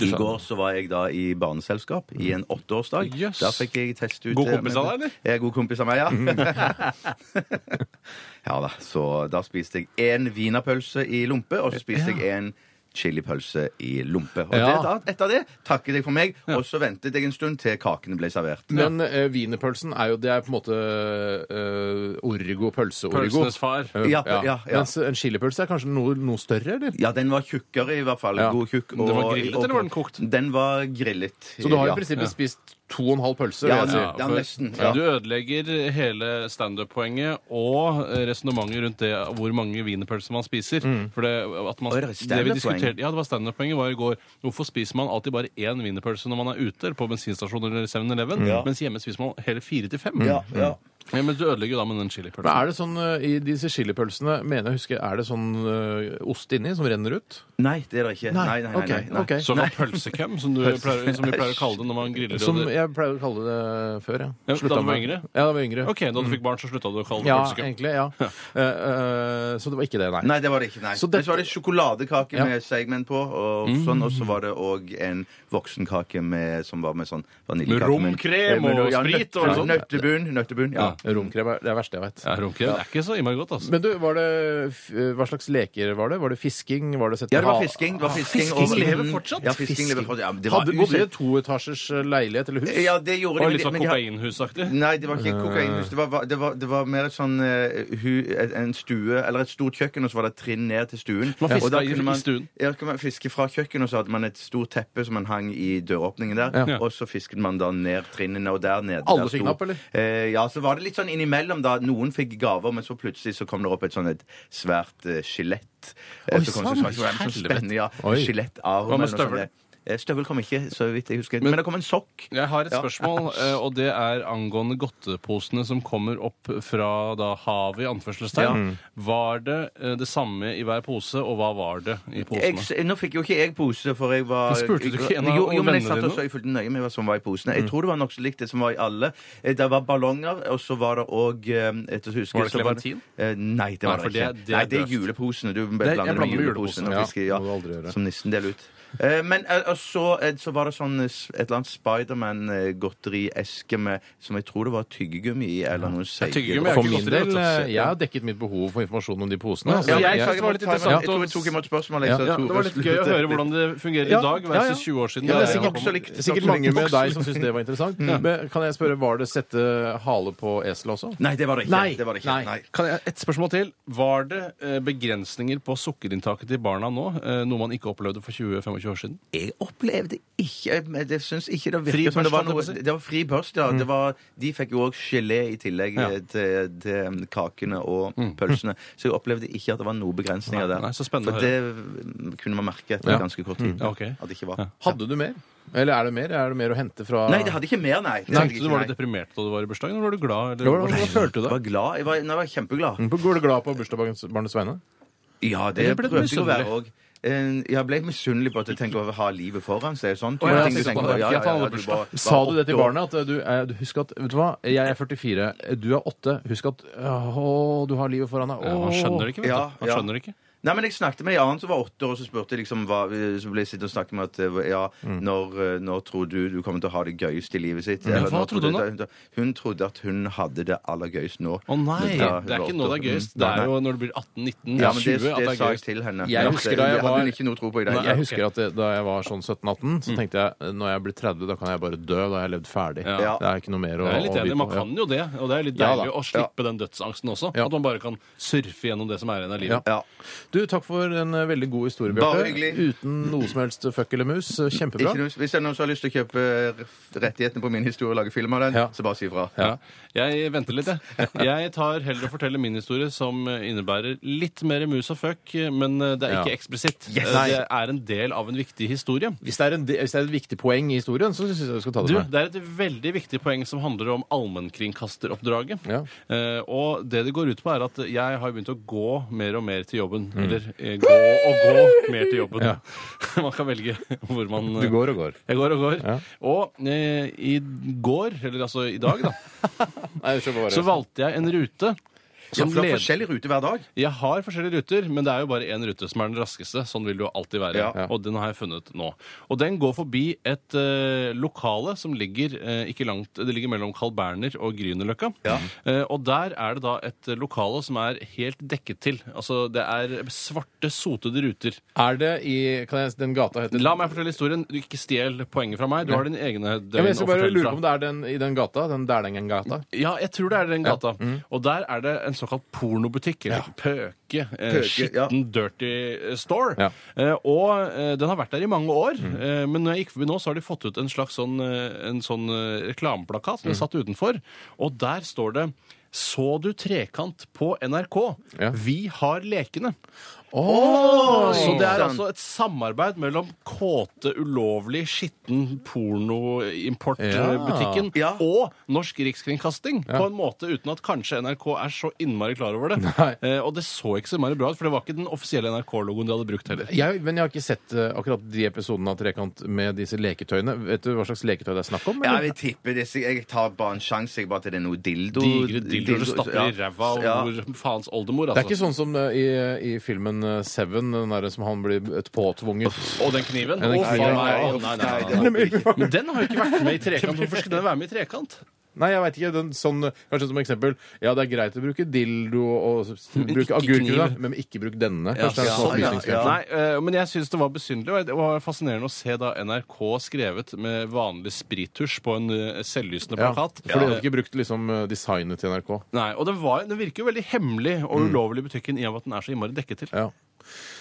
I går så var jeg da i barneselskap i en åtteårsdag. Jøss. Da fikk jeg teste ut God eh, kompis av deg, eller? Mm. Jeg er god kompis av meg, ja. ja da. Så da spiste jeg én wienerpølse i lompe, og så spiste jeg en chilipølse i lompe. Og det, da, Ja. etter det takket jeg for meg, og så ventet jeg en stund til kakene ble servert. Men eh, wienerpølsen er jo det er på en måte eh, origo, pølse-origo. Pølsenes far. Eh, Ja, ja, ja. Mens en chilipølse er kanskje noe, noe større, eller? Ja, den var tjukkere i hvert fall. Ja. God tjukk. Den var grillet, eller var den kokt? Den var grillet. Så du har ja. i prinsippet Ja. spist to og en halv pølse. Ja, vil jeg si. ja, for- nesten, ja. Du ødelegger hele standup-poenget og eh, resonnementet rundt det hvor mange wienerpølser man spiser. For det, at man, Oi, det er det vi standup-poeng. diskuterte Ja, det var standup-poenget var i går. Hvorfor spiser man alltid bare én wienerpølse når man er ute eller på bensinstasjoner eller 7-Eleven, Ja. mens hjemme spiser man hele fire til fem? Ja, ja. Ja, men du ødelegger jo da med den chilipølsen. Men er det sånn eh, i disse chilipølsene mener jeg å huske, Er det sånn eh, ost inni som renner ut? Nei, det er det ikke. Nei, nei, nei. nei, ok, nei. ok. Såkalt pølsekøm, som, du pleier, som vi pleier å kalle det når man griller. Som og det- jeg pleier å kalle det før, ja. Ja, da Slutta du var med- yngre? Ja, da var jeg yngre. OK, da du fikk barn, så slutta du å kalle det Ja, pølsekøm. egentlig. ja. Eh, eh, så det var ikke det, nei. Nei, det var det ikke. nei. Så Så, dette- så var det sjokoladekake Ja. med seigmenn på, og sånn, og så var det òg en voksenkake med, som var med sånn vaniljekake. Med romkrem med- og ja, sprit og nøtt- sånn. Nøttebunn. nøttebunn, ja. Romkrem er det er det verste jeg veit. Ja, romkrem det er ikke så innmari godt, altså. Men du, var det, f- eh, hva slags leker var det? Var det fisking? Var det sette Ah, Ja, det var ha- fisking. Det var fisking, fisking og- lever fortsatt? Ja, fisking lever fortsatt. Ja, men det var Hadde, bodde i usett- en toetasjers eh, leilighet eller hus? Ja, det gjorde de, Og litt sånn men de har- Mm. kokainhusaktig. Nei, det var ikke Eh. kokainhus. Det var, var- det var, det var mer et sånn eh, hu, et- en stue, eller et stort kjøkken, og så var det et trinn ned til stuen. Man fisket og da i- kunne i stuen. Ja, da kunne man fiske fra kjøkkenet, og så hadde man et stort teppe som man hang i døråpningen der, Ja. og så fisket man da ned trinnene, og der nede Alle der fikk sto- napp, eller? Eh, ja, så var det litt sånn innimellom, da. Noen fikk gaver, men så plutselig så kom det opp et sånn et svært eh, skjelett. Eh, Oi, så kom sant, det så- så var det så helvete. spennende, ja. Oi. Skjelett av Hva med eller noe sånt. støvler? Eh, Støvel kom ikke, så vidt jeg husker. Men- Men, det kom en sokk. Jeg har et Ja. spørsmål, eh, og det er angående godteposene som kommer opp fra da havet i anførselstegn. Var det eh, det samme i hver pose, og hva var det i posene? Jeg, nå fikk jo ikke jeg pose, for jeg var Men spurte du ikke en av jo, jo, men jeg vennene satt dine? Mm. og så jeg fulgte nøye med hva som var i posene. Jeg tror det var nokså likt det som var i alle. Eh, Det var ballonger, og så var det eh, òg Var det clementin? Eh, Nei, det var Nei, for det ikke. det- det er nei, det er døvt. juleposene. Du jeg blander det blander med med juleposene. juleposene, og ja. fisker, ja, Må du aldri gjøre. Som nissen deler ut. Eh, Men eh, og så, eh, så var det sånn eh, s- et eller annet Spiderman-godterieske med Som jeg tror det var tyggegummi i, eller noe seige tyggegummi er For ikke min godteri, del, vet du. eh, jeg har dekket mitt behov for informasjon om de posene. Ja, altså. ja, men jeg jeg, synes jeg, det var litt jeg tror jeg tok imot spørsmålet. jeg, Ja, så ja, jeg tror- Det var litt gøy å høre hvordan det fungerer Ja, i dag ja, ja. versus 20 år siden. Ja, da det er jeg sikkert, kom. Også likt- sikkert også mange likt med voksen. deg som syns det var interessant. Men kan jeg spørre, var det sette hale på eselet også? Nei, det var det ikke. Nei, Det var det ikke. nei. Nei. Kan jeg, et spørsmål til. Var det eh, begrensninger på sukkerinntaket til barna nå? eh, Noe man ikke opplevde for 20-25 år siden? Jeg opplevde ikke men Det syns ikke det Fri virket som det børst, var noe holdt jeg på å si. Mm. Det var fri børst, ja. Det var, de fikk jo òg gelé i tillegg Ja. Mm. eh, til, til mm, kakene og pølsene. Så jeg opplevde ikke at det var noen begrensninger der. nei, så spennende å For det mm, kunne man merke etter Ja. ganske kort tid. Ja, Mm, ok. At det ikke var. Ja. Hadde du mer? Eller er det mer? Er det mer å hente fra Nei, det hadde ikke mer, nei. Det hadde Tenkte ikke, du Var nei. du deprimert da du var i bursdagen, eller var du glad? Eller, Ja, hvordan- hvordan- hvordan følte du Jeg det? var glad. Jeg var, nei, jeg var kjempeglad. Går du glad på bursdagsbarnets vegne? Ja, det Eller Mm. ble du prøvde jeg å misunnelig? være òg. Eh, Jeg ble misunnelig på at jeg tenker å ha livet foran seg. Sånn, Å, ja, ting du tenker tenker på på. det. Ja, Ikke ja, at han ja, hadde du bursdag. var- Sa var du det til åtte år. barnet? At du, er, du husk at, Vet du hva, jeg er 44, du er 8. Husk at Å, du har livet foran deg. Ja, han skjønner det ikke, vet Ja, du. Han ja. skjønner det ikke. Nei, men Jeg snakket med en annen som var åtte år, og så spurte jeg liksom hva, så ble jeg sittende og snakke med at eh, ja, Mm. når, eh, når tror du du kommer til å ha det gøyest i livet sitt? Eller når hva trodde hun da? det- Hun trodde at hun hadde det aller gøyest nå. Å nei! Ja, hun det er var ikke nå det er åtte år. gøyest. Det er Mm. Nei. jo når du blir ja, 18-19-20 men det, at det det sa er jeg gøyest. til henne. Jeg Ja, husker det- da jeg hadde var- hun ikke noe tro på i dag. Nei, Jeg ok. Mm. husker at det, da jeg var sånn 17-18, så tenkte jeg når jeg blir 30, da kan jeg bare dø. Da har jeg levd ferdig. Ja. Det er ikke noe mer å, Jeg er å litt enig, Man kan jo det, og det er litt Ja, deilig da. å slippe den dødsangsten også. Ja. At man bare kan surfe gjennom det som er igjen av livet. Ja. Du, takk for en eh, veldig god historie, Bare Bjarte. hyggelig. Uten noe som helst fuck eller mus. eh, Kjempebra. Ikke noe, hvis det er noen som har lyst til å kjøpe eh, rettighetene på min historie og lage film av den, Ja. så bare si ifra. Ja. Jeg venter litt, jeg. Jeg tar heller å fortelle min historie som innebærer litt mer mus og fuck, men det er Ja. ikke eksplisitt. Eh, Yes! Det er en del av en viktig historie. Hvis det, er en, de- hvis det er et viktig poeng i historien, så syns jeg du skal ta det Du, med. det er et veldig viktig poeng som handler om allmennkringkasteroppdraget. Ja. Eh, og det det går ut på, er at jeg har begynt å gå mer og mer til jobben. Eller eh, gå og gå mer til jobben. Mm. Ja. man kan velge hvor man Du går og går. Jeg går og går. Ja. Og eh, i går, eller altså i dag, da, Nei, jeg skjønner bare- så valgte jeg en rute. Ja, Som for det er leder. forskjellig rute hver dag. Jeg har forskjellige ruter, men det er jo bare én rute som er den raskeste. Sånn vil det jo alltid være. Ja. Og den har jeg funnet nå. Og den går forbi et eh, lokale som ligger eh, ikke langt Det ligger mellom Carl Berner og Grünerløkka. Ja. Eh, og der er det da et lokale som er helt dekket til. Altså det er svarte, sotede ruter. Er det i kan jeg, Den gata heter La meg fortelle historien. Du Ikke stjel poenget fra meg. Du har din egne døgn ja, men Jeg skal å bare fortelle lure fra. på om det er den, i den gata. Den Dælengen-gata. Mm. Ja, jeg tror det er den gata. Og der er det en såkalt pornobutikk, eller pøke, eh, Pøke, ja. skitten dirty eh, store. Ja. Eh, og eh, den har vært der i mange år, Mm. eh, men når jeg gikk forbi nå, så har de fått ut en slags sånn, eh, en sånn eh, reklameplakat som Mm. er satt utenfor, og der står det så du Trekant på NRK? Ja. Vi har lekene. Så Oi, det er sant. altså et samarbeid mellom kåte, ulovlig, skitten eh, pornoimportbutikken Ja. og Norsk Rikskringkasting på en måte uten at kanskje NRK er så innmari klar over det. Nei. Eh, og det så ikke så innmari bra ut, for det var ikke den offisielle NRK-logoen de hadde brukt heller. Jeg, men jeg har ikke sett eh, akkurat de episodene av Trekant med disse leketøyene. Vet du hva slags leketøy det er snakk om? Ja, eller? jeg tipper det. Jeg tar bare en sjanse jeg, bare til det er noe dildo. Digre dildoer du stapper i ja. ræva og Ja. hvor faens oldemor, Det er ikke altså. sånn som eh, i, i filmen eh, Seven, den der som han blir et påtvunget Og den kniven. Ja, den Å, kniven. faen Nei, meg. Å, uff, nei, nei, nei, nei, det håper nei. jeg ikke. Men den har jo ikke vært med i Trekant. Hvorfor skulle den være med i Trekant? Nei, jeg veit ikke. Den, sånn, kanskje som eksempel Ja, det er greit å bruke dildo og s- Men bruke ikke agurker, da, kniv. men ikke bruk denne. Ja, Kanskje det er en sånn sånn, ja, opplysningsgreie. ja. Nei, eh, men jeg syns det var besynderlig. og Det var fascinerende å se da NRK skrevet med vanlig sprittusj på en eh, selvlysende Ja, plakat. For de hadde Eh, ikke brukt liksom, designet til NRK. Nei, og den, var, den virker jo veldig hemmelig og ulovlig i butikken i og med at den er så innmari dekket til. Mm. Ja.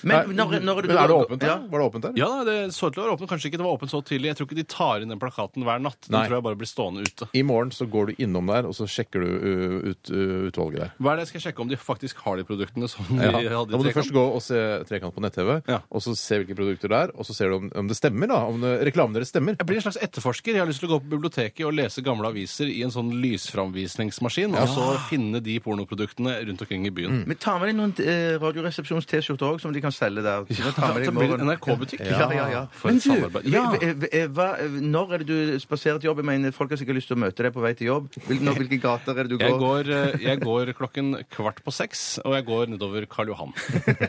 Men når, når er det, Men er det åpent der? Ja. Var det åpent der? Ja, nei, det så ut til å være åpent. Kanskje ikke det var åpent så tidlig. Jeg tror ikke de tar inn den plakaten hver natt. Den Nei. tror jeg bare blir stående ute. I morgen så går du innom der, og så sjekker du uh, ut, uh, utvalget der. Hva er det jeg skal sjekke om de faktisk har de produktene som de Ja. hadde Da i må du Trekant? først gå og se Trekant på nett-TV, Ja. og så se hvilke produkter det er, og så ser du om, om det stemmer, da. Om det, reklamen deres stemmer. Jeg blir en slags etterforsker. Jeg har lyst til å gå på biblioteket og lese gamle aviser i en sånn lysframvisningsmaskin, og så finne de pornoproduktene rundt omkring i Mm. byen. Men ta med deg noen eh, Radioresepsjons-T-skjorter òg, som de kan selge der. Så ta med deg i det blir morgen. en NRK-butikk. Ja, ja, ja. For Men et du, samarbeid. Ja. v- v- v- hva, eh, når er det du spaserer til jobb? Jeg mener, Folk har sikkert lyst til å møte deg på vei til jobb. Hvil- når- Hvilke gater er det du Jeg går? går, eh, jeg går klokken kvart på seks, og jeg går nedover Karl Johan.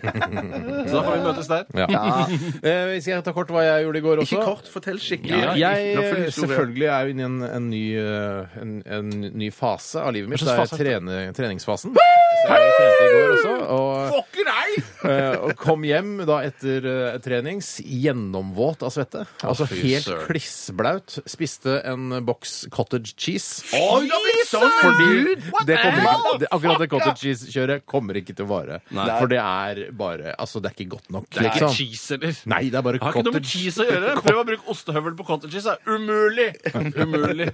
Så da får vi møtes der. Ja. Eh, skal jeg ta kort hva jeg gjorde i går også? Ikke kort, fortell skikkelig. Ja, Jeg Nå følger historien. selvfølgelig er jo inne i en, en, ny, eh, en, en ny fase av livet mitt. Hva Det slags er trene, treningsfasen. Så jeg trente i går også, og, Fucker deg! eh, og kom hjem da etter eh, trenings gjennomvåt av svette. Altså fy helt søren. klissblaut. Spiste en boks cottage cheese. Oi, det har blitt sånn! Fordi Gud! det kommer ikke, det, akkurat det cottage cheese-kjøret kommer ikke til å vare. Nei. For det er bare Altså, det er ikke godt nok. Det er ikke liksom. cheese, eller? Nei, det er bare Det har ikke noe med cottage. cheese å gjøre. Prøv å bruke ostehøvel på cottage cheese. Det er umulig! Umulig.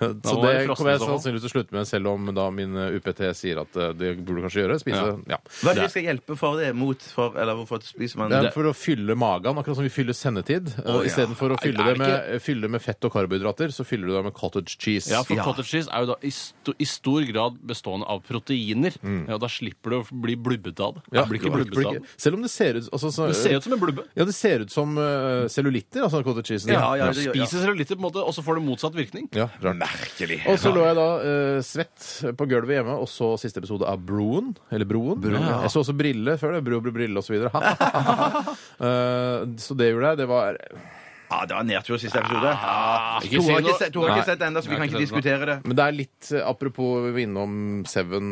Så må det kommer jeg jeg frosse den i så fall. sannsynligvis til å slutte med, selv om da min eh, UPT sier at eh, det burde du kanskje gjøre. Spise ja. Hva er det vi skal hjelpe for det? Mot for, eller hvorfor spiser man Det er for å fylle magen, akkurat som vi fyller sendetid. Oh, ja. Istedenfor å Nei, fylle det er det med, fylle med fett og karbohydrater, så fyller du det med cottage cheese. Ja, for Ja. cottage cheese er jo da i, sto, i stor grad bestående av proteiner. Ja, og da slipper du å bli blubbete av det. Ja, Du Mm. blir ikke det blubbete av blir det. ikke- Selv om det ser ut altså, så, Det ser ut som en blubbe. Ja, det ser ut som eh, cellulitter, altså cottage cheese. Ja, ja, Du det gjør- spiser cellulitter, på en måte, og så får det motsatt virkning. Ja, rart. Merkelig. Og så lå jeg da eh, svett på gulvet hjemme og så siste episode av Broen. Eller Broen. ja. Jeg så også Brille før det. Bro, bro, brille og Så, videre. Eh, så det gjorde jeg. Det var Ja, det var nedtur siste episode. Ja, ikke to si har ikke noe. sett, to har Nei. ikke sett det ennå, så vi Nei, kan ikke ikke sett det diskutere det. Men det er litt eh, Apropos vi var innom Seven.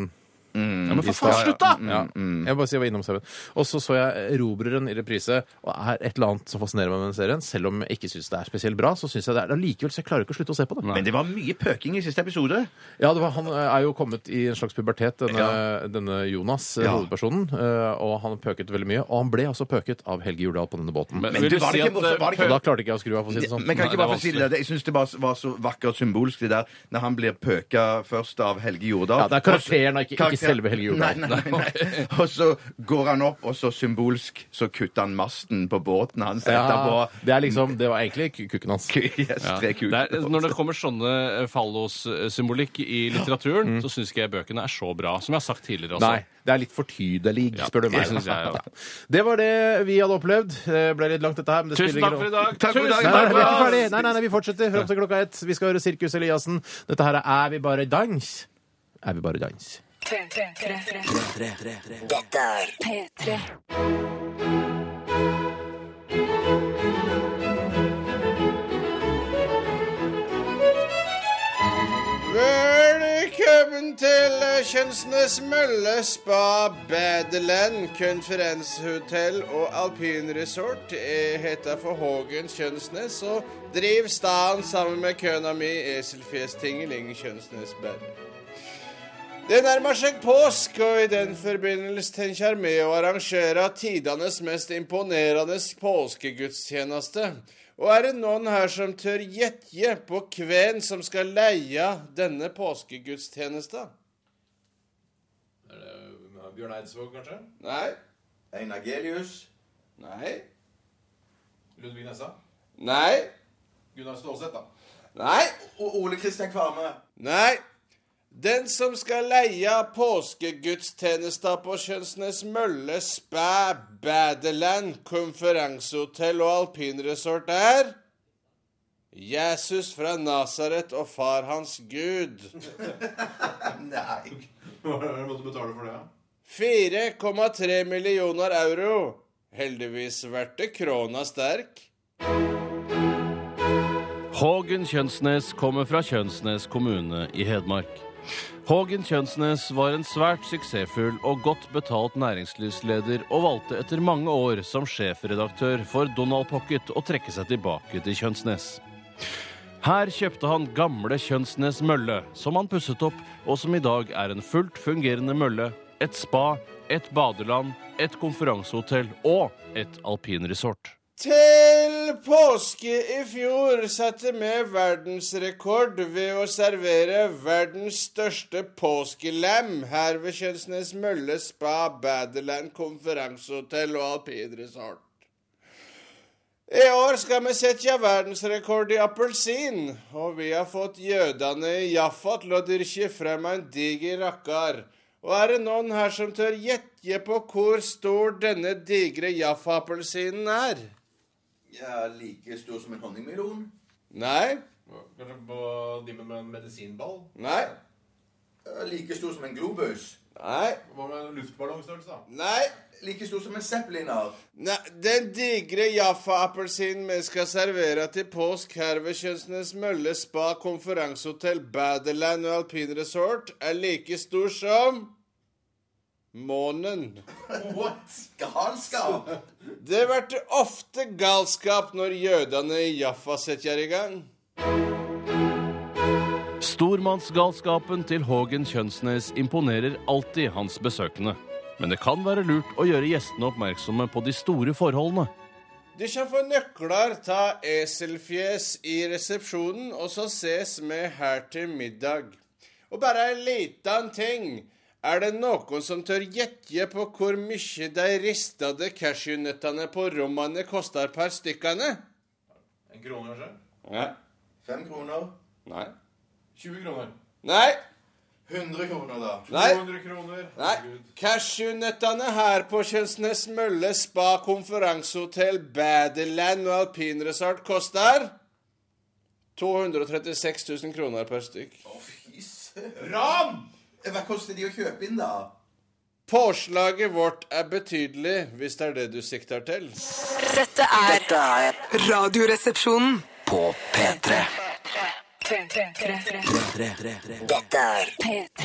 Ja, men for stad, faen, ja. slutt, da! Ja, jeg vil bare si jeg var innom Seven. Og så så jeg Erobreren i reprise, og det er et eller annet som fascinerer meg med den serien. Selv om jeg ikke syns det er spesielt bra, så syns jeg det er allikevel, så jeg klarer ikke å slutte å se på det. Men det var mye pøking i siste episode. Ja, det var, Han eh, er jo kommet i en slags pubertet, denne, denne Jonas, eh, Ja. hovedpersonen. eh, Og han pøket veldig mye. Og han ble altså pøket av Helge Jordal på denne båten. Men, Men du, vil du var det si ikke at morsomt? Var det eh, ikke- og da klarte ikke jeg å skru av, for å si det sånn. Men kan Nei, ikke det er bare få si det vanskelig. der? Jeg syns det bare var så vakkert symbolsk, det der, når han blir pøka først av Helge Jordal. Ja, det er karakteren, da, ikke, Karakter- ikke selve Helge Jordal. Nei, nei, nei, nei. Og så går han opp, og så symbolsk så kutter han masten på båten hans Ja, etterpå. det, er liksom, det var egentlig ku- kukken hans. Yes, tre kuker. det er, når det kommer sånne eh, fallossymbolikk i litteraturen, så syns ikke jeg bøkene er så bra. Som jeg har sagt tidligere altså. også. Nei, Altså, det er litt fortydelig, spør du det meg. synes jeg, ja. Det var det vi hadde opplevd. Det ble litt langt, dette her. Men det Tusen spiller takk ingen for i rolle. dag! Takk for i dag. Nei, Tusen nei, vi er ikke for i dag. ferdig. Nei, nei, nei, vi fortsetter fram til klokka ett. Vi skal høre Sirkus Eliassen. Dette her er Er vi bare dans? Er vi bare dans? Dette er P3. Velkommen til Kjønnsnes Mølle Spa Badeland konferansehotell og alpinresort. Jeg heter for Hågen Kjønnsnes og driver staden sammen med køna mi Eselfjes Tingeling Kjønnsnes Bad. Det nærmer seg påske, og i den forbindelse tenker jeg med å arrangere tidenes mest imponerende påskegudstjeneste. Og er det noen her som tør gjette på hvem som skal leie denne påskegudstjenesten? Bjørn Eidsvåg, kanskje? Nei? Einar Gelius. Nei? Ludvig Nessa? Nei? Gunnar Stålseth, da. Nei? Og Ole Kristian Kvarme. Nei. Den som skal leie påskegudstjenester på Kjønsnes Mølle Spa Badeland konferansehotell og alpinresort er Jesus fra Nasaret og far hans Gud. Nei. Dere måtte betale for det, ja? 4,3 millioner euro. Heldigvis ble krona sterk. Hågen Kjønsnes kommer fra Kjønsnes kommune i Hedmark. Hågen Kjønsnes var en svært suksessfull og godt betalt næringslivsleder og valgte etter mange år som sjefredaktør for Donald Pocket å trekke seg tilbake til Kjønsnes. Her kjøpte han gamle Kjønsnes mølle, som han pusset opp, og som i dag er en fullt fungerende mølle, et spa, et badeland, et konferansehotell og et alpinresort. Til påske i fjor satte vi verdensrekord ved å servere verdens største påskelem her ved Kjønsnes Mølle spa Badeland konferansehotell og alpinresort. I år skal vi sette verdensrekord i appelsin, og vi har fått jødene i Jaffa til å dyrke frem en diger rakkar. Og er det noen her som tør gjette på hvor stor denne digre Jaffa-appelsinen er? Ja, like stor som en honningmelon. Nei? Kanskje på dimmen med en medisinball? Nei? Ja, Like stor som en globus. Nei? Hva med en luftballongstørrelse, da? Nei? Like stor som en zeppeliner. Nei, Den digre Jaffa-appelsinen vi skal servere til påsk her ved Kjønsnes Mølle spa konferansehotell Badeland og alpinresort, er like stor som månen. What? Galskap! Det blir ofte galskap når jødene i Jaffa setter i gang. Stormannsgalskapen til Hågen Kjønsnes imponerer alltid hans besøkende. Men det kan være lurt å gjøre gjestene oppmerksomme på de store forholdene. Du kan få nøkler ta eselfjes i resepsjonen, og så ses vi her til middag. Og bare en liten ting. Er det noen som tør gjette på hvor mye de ristede cashewnøttene på rommene koster per stykkene? En krone, kanskje? Nei. Fem kroner. Nei. 20 kroner. Nei. 100 kroner, da. Nei. 200 kroner. Nei. Cashewnøttene her på Kjønsnes Mølle spa konferansehotell Badeland og alpinresort koster 236 000 kroner per stykk. Å, fy søren. Ran! Hva koster de å kjøpe inn, da? Påslaget vårt er betydelig, hvis det er det du sikter til. Dette er Dette er Radioresepsjonen. på P3. Dette er P3.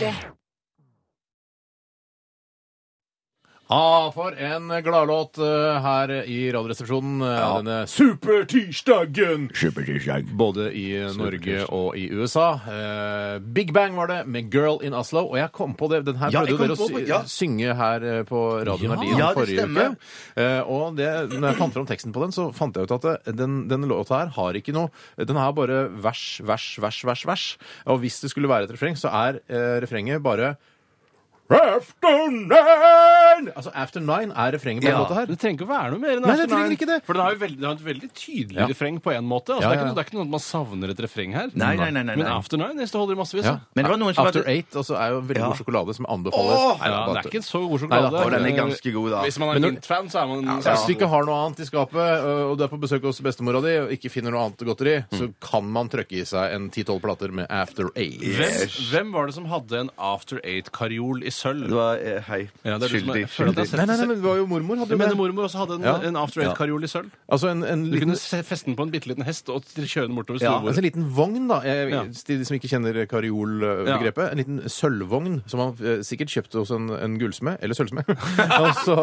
Ah, for en gladlåt eh, her i Radioresepsjonen eh, denne supertirsdagen! Både i eh, Norge og i USA. Eh, Big Bang var det, med 'Girl in Oslo'. Og jeg kom på det. Den her Ja, jeg prøvde dere å kom på sy det, ja. synge her eh, på Radio Verdien Ja, det forrige uke. stemmer. Eh, og det, når jeg fant fram teksten på den, så fant jeg ut at det- den, denne låta her har ikke noe Den har bare vers, vers, vers, vers, vers. Og hvis det skulle være et refreng, så er eh, refrenget bare After nine! Altså, After nine er refrenget på den låta her. Det trenger ikke å være noe mer enn Nei, det After trenger Nine. ikke det. For den har jo veldig, den har et veldig tydelig Ja. refreng på én måte. Altså, Det, er Ja, ja, ikke ja. noe, det er ikke noe at man savner et refreng her. Nei, nei, nei, nei, Men nei. After Nine det holder i massevis. da. Ja. Men det var noen som After hadde Eight også er jo veldig Ja. god sjokolade som anbefaler. Åh! Nei, Ja, bare- det er ikke så god Nei, sjokolade. da, og den er ganske god, da. Hvis man er Men når- Mint-fan, så er man Så Hvis du ikke har noe annet i skapet, øh, og du er på besøk hos bestemora di og ikke finner noe annet godteri, så kan man trøkke i seg en 10-12 plater med After Eight. Hvem, hvem var det som hadde en After Eight-karjol i sølv. Det var eh, hei. Ja, det er du som er- skyldig. jeg føler at jeg skyldig. ser- Nei, nei, nei, men det var jo mormor. Du hadde jo mener det. mormor også hadde en, Ja. en after eight-karjol i sølv? Altså en, en Du liten kunne se- feste den på en bitte liten hest og t- kjøre den bortover Ja, altså storbordet. en liten vogn, da. Jeg, Ja. Til de som ikke kjenner karjolbegrepet. En liten sølvvogn som han eh, sikkert kjøpte hos en, en gullsmed, eller sølvsmed, altså,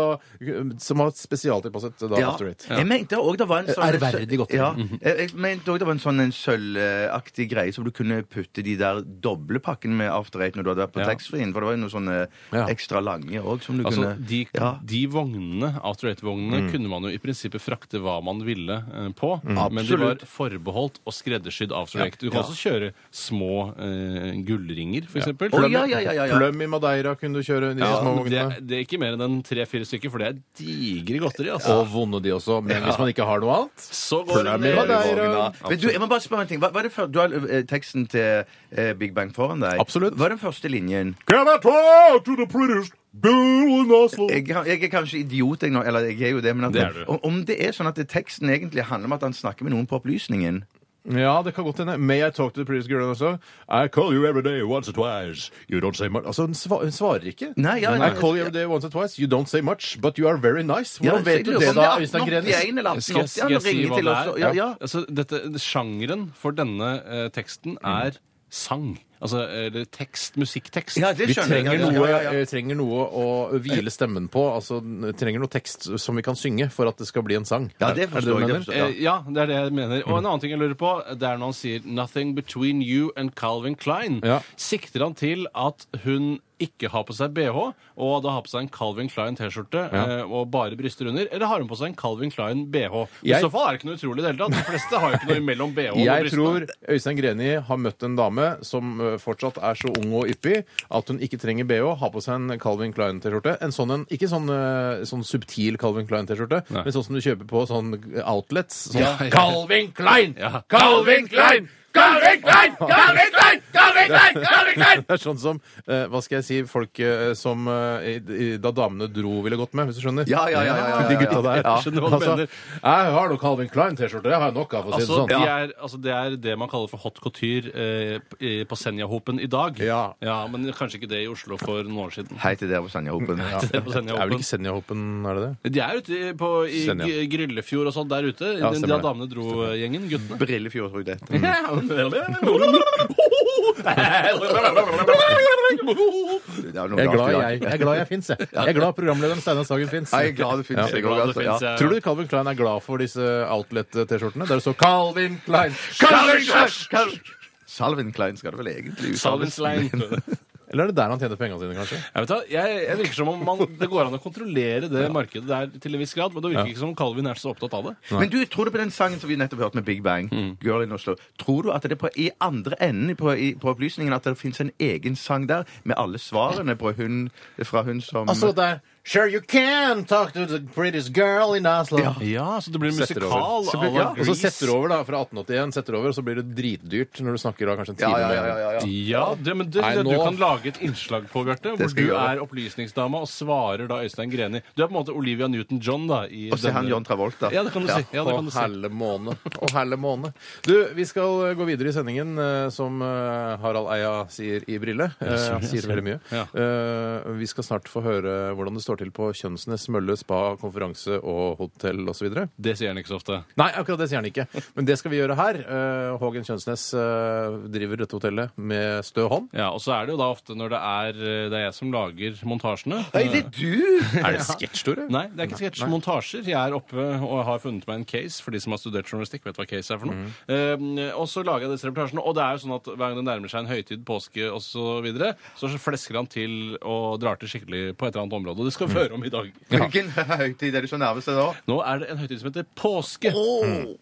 som var spesialtilpasset da Ja. After Eight. Jeg mente òg det var en sånn Ærverdig godt. Ja. Jeg jeg mente også det var en sånn en sølvaktig greie som du kunne putte de der doble pakkene med After Eight når du hadde vært på Ja. taxfree-en, for det var jo noen sånne Ja. ekstra lange òg som du Altså, kunne de, Ja. Mm. de vognene, After Eight-vognene, kunne man jo i prinsippet frakte hva man ville eh, på, men de var Mm. Absolutt. forbeholdt og skreddersydd After Eight. Du kan også kjøre små eh, gullringer, for eksempel. Å, ja, ja, ja, ja, ja. Plum i Madeira kunne du kjøre disse Ja, små men det, vognene. det er ikke mer enn en tre-fire stykker, for det er digre godteri. altså. Og vonde de også. Men hvis man ikke har noe annet Så går det Plum i ned. Madeira. Men du, jeg må bare spørre en ting. Hva, hva er det før, du har eh, teksten til eh, Big Bang foran deg. Absolutt. Hva er den første linjen? Can I talk to the British? Bill in Oslo? Jeg, har- jeg er kanskje idiot, jeg nå. Eller jeg er jo det, men at, Det er du. om- om det er sånn at det, teksten egentlig handler om at han snakker med noen på opplysningen Ja, det kan godt hende. May I talk to the British girl also? I call you every day, once or twice. You don't say much. Altså, hun, sva hun svarer ikke. Nei, ja, I nei. call you every day, once or twice. You don't say much, but you are very nice. Ja, Hvordan vet jeg du lurer på det, om da, er Øystein 1881 Grenis? eller Skal 1880 jeg, skal han jeg si ringer hva til det oss. er? og- Ja, ja. Altså, dette, sjangeren for denne eh, teksten er sang. Altså eller tekst, musikktekst. Ja, det Vi skjønner jeg. trenger Ja, noe, ja, ja. eh, trenger noe å hvile stemmen på. Altså, n- trenger noe tekst som vi kan synge for at det skal bli en sang. Ja, det Er du forstår jeg, det mener? forstår Eh, ja, det er det jeg mener. Og en annen ting jeg lurer på, det er når han sier 'nothing between you and Calvin Klein'. Ja. Sikter han til at hun ikke har på seg bh, og da har på seg en Calvin Klein T-skjorte eh, og bare bryster under, eller har hun på seg en Calvin Klein bh? Jeg- I så fall er det ikke noe utrolig i det hele tatt. De fleste har jo ikke noe imellom bh og Jeg brystene. tror Øystein Greni har møtt en dame som eh, fortsatt er så ung og yppig at hun ikke trenger BH, har på seg en Calvin Klein-T-skjorte. En sånn en, ikke sånn, eh, sånn subtil Calvin Klein-T-skjorte, Nei. men sånn som du kjøper på sånn outlets. Sånn, Ja, ja. Calvin Klein! Ja. Calvin Klein! Calvin Klein! Calvin Klein! Calvin Klein! Calvin Klein! Det er sånn som, eh, hva skal jeg si, folk eh, som eh, i, i, da damene dro ville gått med, hvis du skjønner. Ja, ja, ja, ja, ja, ja. De gutta der. Jeg skjønner hva du mener. Altså, jeg har nok Calvin Klein-T-skjorte, jeg har nok av, for å si det Altså, sånn. de er, altså, det er det man kaller for hot couture eh, p- i- på Senjahopen i dag. Ja. Men kanskje ikke det i Oslo for noen år siden. Hei til dere på Sanjahopen. Det Det er er på vel Senjahopen. ikke Senjahopen, er det det? De er ute i- på, i Senja. G- Gryllefjord og sånn der ute. Ja, de, stemmer de det. damene dro eh, gjengen, guttene. Brillefjord, tror jeg det heter. Det er noe Jeg er glad rart i dag. jeg, jeg, er glad jeg fins, jeg. Jeg er glad programlederen Steinar Sagen fins. Ja, Jeg er glad det finnes, Ja. jeg òg. Altså. Ja. finnes, ja. Tror du Calvin Klein er glad for disse outlet-T-skjortene? Der det står Calvin Klein! Calvin Klein! Salvin Klein skal det vel egentlig uttales. Salvenslein. Eller er det der han tjener pengene sine, kanskje? Mm. Jeg vet da, jeg, jeg virker som om man, det går an å kontrollere det markedet der til en viss grad, men det virker ikke som om Calvin er så opptatt av det. Men du, tror du på den sangen som vi nettopp hørte med Big Bang, Mm. Girl in Oslo, tror du at det på, i andre enden på, i, på opplysningen at det finnes en egen sang der med alle svarene på hun, fra hun som Altså, det er Sure you can talk to the prettiest girl in Oslo. Ja, så det blir Setter over. musikal Så à blir, la ja, og så Grease. setter du over da, fra 1881, setter over, og så blir det dritdyrt når du snakker da kanskje en ja, time. ja, ja, ja, ja. Ja, det, men det, Nei, det, du nå- kan lage et innslag på, Bjarte, hvor Det skal jeg du gjøre. er opplysningsdama og svarer da Øystein Greni. Du er på en måte Olivia Newton-John, da. I Og så er han John Travolta. Ja, det kan du si. Ja, det Å, kan du si. helle måne. Å, helle måne. Du, vi skal eh, gå videre i sendingen, eh, som eh, Harald Eia sier i Brille. Eh, Han sier veldig mye. Ja. Eh, Vi skal snart få høre hvordan det står til på Kjønnsnes, Mølle, spa, konferanse og hotell osv. Det sier han ikke så ofte. Nei, akkurat det sier han ikke. Men det skal vi gjøre her. Eh, Hågen Kjønnsnes eh, driver dette hotellet med stø hånd. Ja, Og så er det jo da ofte når det er eh, Det er jeg som lager montasjene. Nei, det er du! Er det sketsj, Tore? Nei, det er ikke sketsj. Montasjer. Jeg er oppe og har funnet meg en case, for de som har studert journalistikk, vet hva case er for Mhm. noe. Eh, og så lager jeg disse reportasjene, og det er jo sånn at hver gang det nærmer seg en høytid, påske osv., så, videre, så flesker han til og drar til skikkelig på et eller annet område. Og det skal Mhm. vi høre om i dag. Hvilken høytid er du så nærmest nå? Nå er det en høytid som heter påske.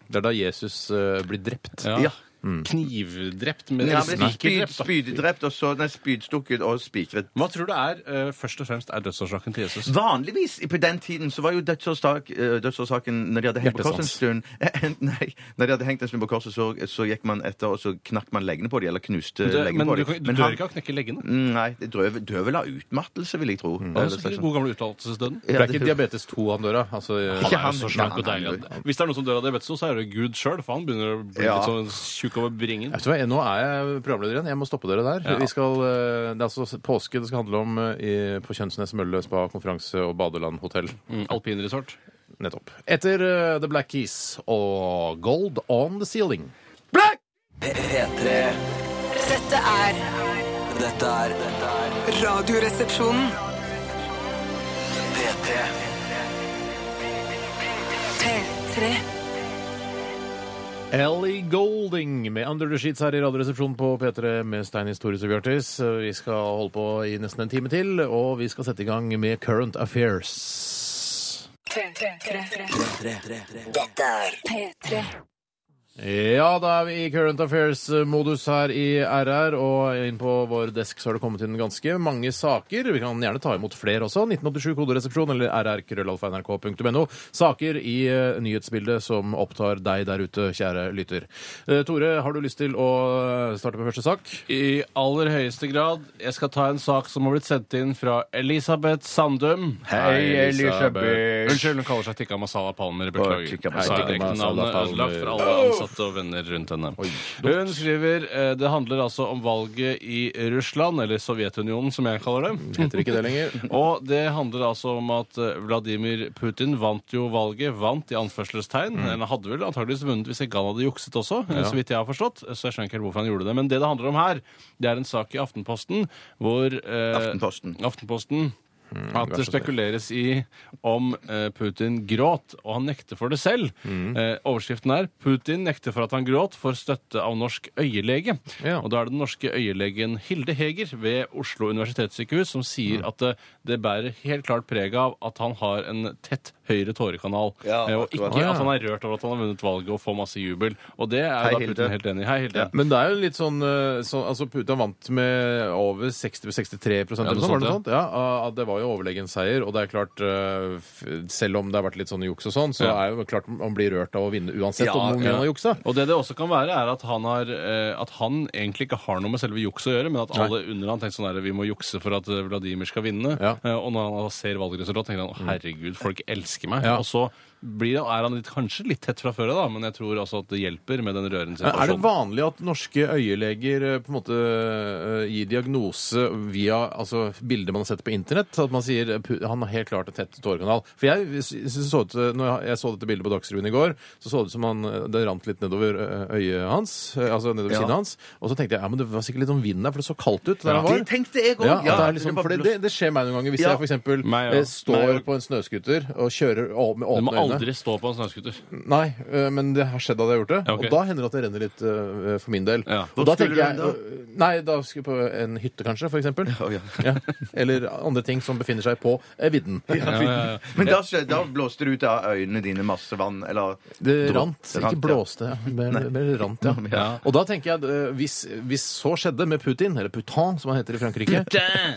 Det er da Jesus eh, blir drept. Ja. Ja. Mm. Knivdrept med Ja, eller men spyd, spikerdrept, da. spyddrept og så Nei, spydstukket og spikret. Hva tror du er eh, først og fremst er dødsårsaken til Jesus? Vanligvis på den tiden så var jo dødsårsak, eh, dødsårsaken når de hadde hengt på korset en stund eh, Nei, når de hadde hengt en stund på korset, så, så gikk man etter, og så knakk man leggene på dem, eller knuste Du, leggene men på du, dem. kan- du dør ikke av å knekke leggene? Mm, Nei, det drøv, døvel av utmattelse, vil jeg tro. Det Mm. Eller er sikkert slags- sånn- den gode gamle uttalelsesdøden. Ja, Det er ikke det- diabetes 2 han dør av. Altså, eh, Han er jo han. så slank og Nei, deilig. nei, at- Hvis det er noen som dør av diabetes, så er det Gud sjøl, for han begynner å bli Ja. litt sånn tjukk utover bringen. Vet du hva, Nå er jeg programleder igjen. Jeg må stoppe dere der. Ja. Vi skal, eh, det er altså påske det skal handle om eh, i, på Kjønnsnes Mølle spa, konferanse og badeland hotell. Mm, Alpinresort. Nettopp. Etter eh, The Black Keys og Gold On The Ceiling. P- P3 Dette er Dette er dette er Radioresepsjonen. P3 P3. Ellie Golding med Under the Sheets her i Radioresepsjonen på P3 med Steinis, Tores og Bjørtis. Vi skal holde på i nesten en time til, og vi skal sette i gang med Current Affairs. P3. Ja, da er vi i Current Affairs-modus her i RR, og inn på vår desk så har det kommet inn ganske mange saker. Vi kan gjerne ta imot flere også. 1987 koderesepsjon eller rrkrøllalfa.nrk.no. Saker i eh, nyhetsbildet som opptar deg der ute, kjære lytter. Eh, Tore, har du lyst til å eh, starte med første sak? I aller høyeste grad. Jeg skal ta en sak som har blitt sendt inn fra Elisabeth Sandum. Hei, Elisabeth. Unnskyld, hun kaller seg Tikka Masala Palmer. Beklager. Å, Tikka Her er Masala det ekte Palmer. navnet ødelagt for alle ansatte og venner rundt henne. Hun skriver eh, det handler altså om valget i Russland, eller Sovjetunionen som jeg kaller det. Heter ikke det lenger. Og det handler altså om at eh, Vladimir Putin vant jo valget, vant i anførselstegn. Han hadde vel antageligvis vunnet hvis ikke han hadde jukset også, eh, så vidt jeg har forstått. Så jeg skjønner ikke helt hvorfor han gjorde det. Men det det handler om her, det er en sak i Aftenposten hvor eh, Aftenposten. Hmm, Aftenposten at det så snill. spekuleres i om eh, Putin gråt, og han nekter for det selv. Hmm. Eh, overskriften er 'Putin nekter for at han gråt, for støtte av norsk øyelege'. Ja. Og da er det den norske øyelegen Hilde Heger ved Oslo universitetssykehus som Hmm. sier at det, det bærer helt klart preg av at han har en tett høyre tårekanal, Ja, eh, og akkurat. ikke at han er rørt over at han har vunnet valget og får masse jubel. Og det er Hei, da Hilde. Putin helt enig i. Hei, Hilde. Men det er jo litt sånn, eh, så, altså Putin vant med over 60-63 prosent, Ja, eller noe sånt, noe var det noe sånt, sånt? Ja, ah, det var jo overlegen seier, og det er klart, eh, f- selv om det har vært litt sånn juks og sånn, så Ja. er jo klart man blir rørt av å vinne uansett Ja, om hvor mye Ja. han har juksa. Og det det også kan være, er at han, har, eh, at han egentlig ikke har noe med selve jukset å gjøre, men at alle under han tenkte sånn her, vi må jukse for at eh, Vladimir skal vinne. Ja. Mm. Eh, og når han ser valgresultatet, tenker han «Å, herregud, folk elsker meg. Ja. Og så blir han, er han litt, kanskje litt tett fra før, da, men jeg tror også at det hjelper med den rørende Men Er det situasjonen. vanlig at norske øyeleger eh, på en måte eh, gir diagnose via altså, bilder man har sett på internett? At man sier eh, pu- han har helt klart en tett tårekanal. For jeg sy- sy- så ut, eh, når jeg- jeg så dette bildet på Dagsrevyen i går, så så det ut som han, eh, det rant litt nedover eh, øyet hans, eh, altså nedover Ja. kinnet hans. Og så tenkte jeg ja, men det var sikkert litt om vinden der, for det så kaldt ut der han Det var. tenkte jeg òg. Ja, at det, er liksom, for det, det skjer meg noen ganger hvis Ja. jeg for eksempel Meg, ja. eh, står Meg, ja. på en snøskuter og kjører å- med Du må åpne øyne. aldri stå på en snøskuter. Nei, øh, men det har skjedd at jeg har gjort det. Ja, ok. Og da hender det at det renner litt øh, for min del. Ja. Og Hvor da skulle tenker jeg du øh, Nei, da skulle jeg på en hytte kanskje, for eksempel. Å, ja. Ja. Eller andre ting som befinner seg på eh, vidden. Men da, skjø- da blåste det ut av øynene dine masse vann, eller Det Dro- rant, ikke ja. blåste. Ja. Mer, mer rant, ja. Ja. Og da tenker jeg, øh, hvis, hvis så skjedde med Putin, eller Putin som han heter i Frankrike,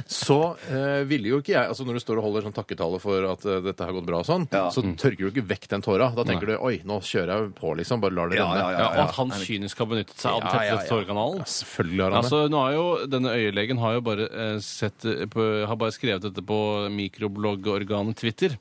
så øh, ville jo ikke jeg altså Når du står og holder sånn takketale for at øh, dette har gått bra og sånn, Ja. så tørker du ikke vekk den tåra. Da tenker du oi, nå kjører jeg på, liksom. Bare lar det Ja, renne. ja, ja, Ja, og at han kynisk har benyttet seg av den Ja, ja, tette ja. tårekanalen. Selvfølgelig har han det. Altså, nå har jo, Denne øyelegen har jo bare, eh, sett, eh, på, har bare skrevet dette på mikrobloggorganet Twitter,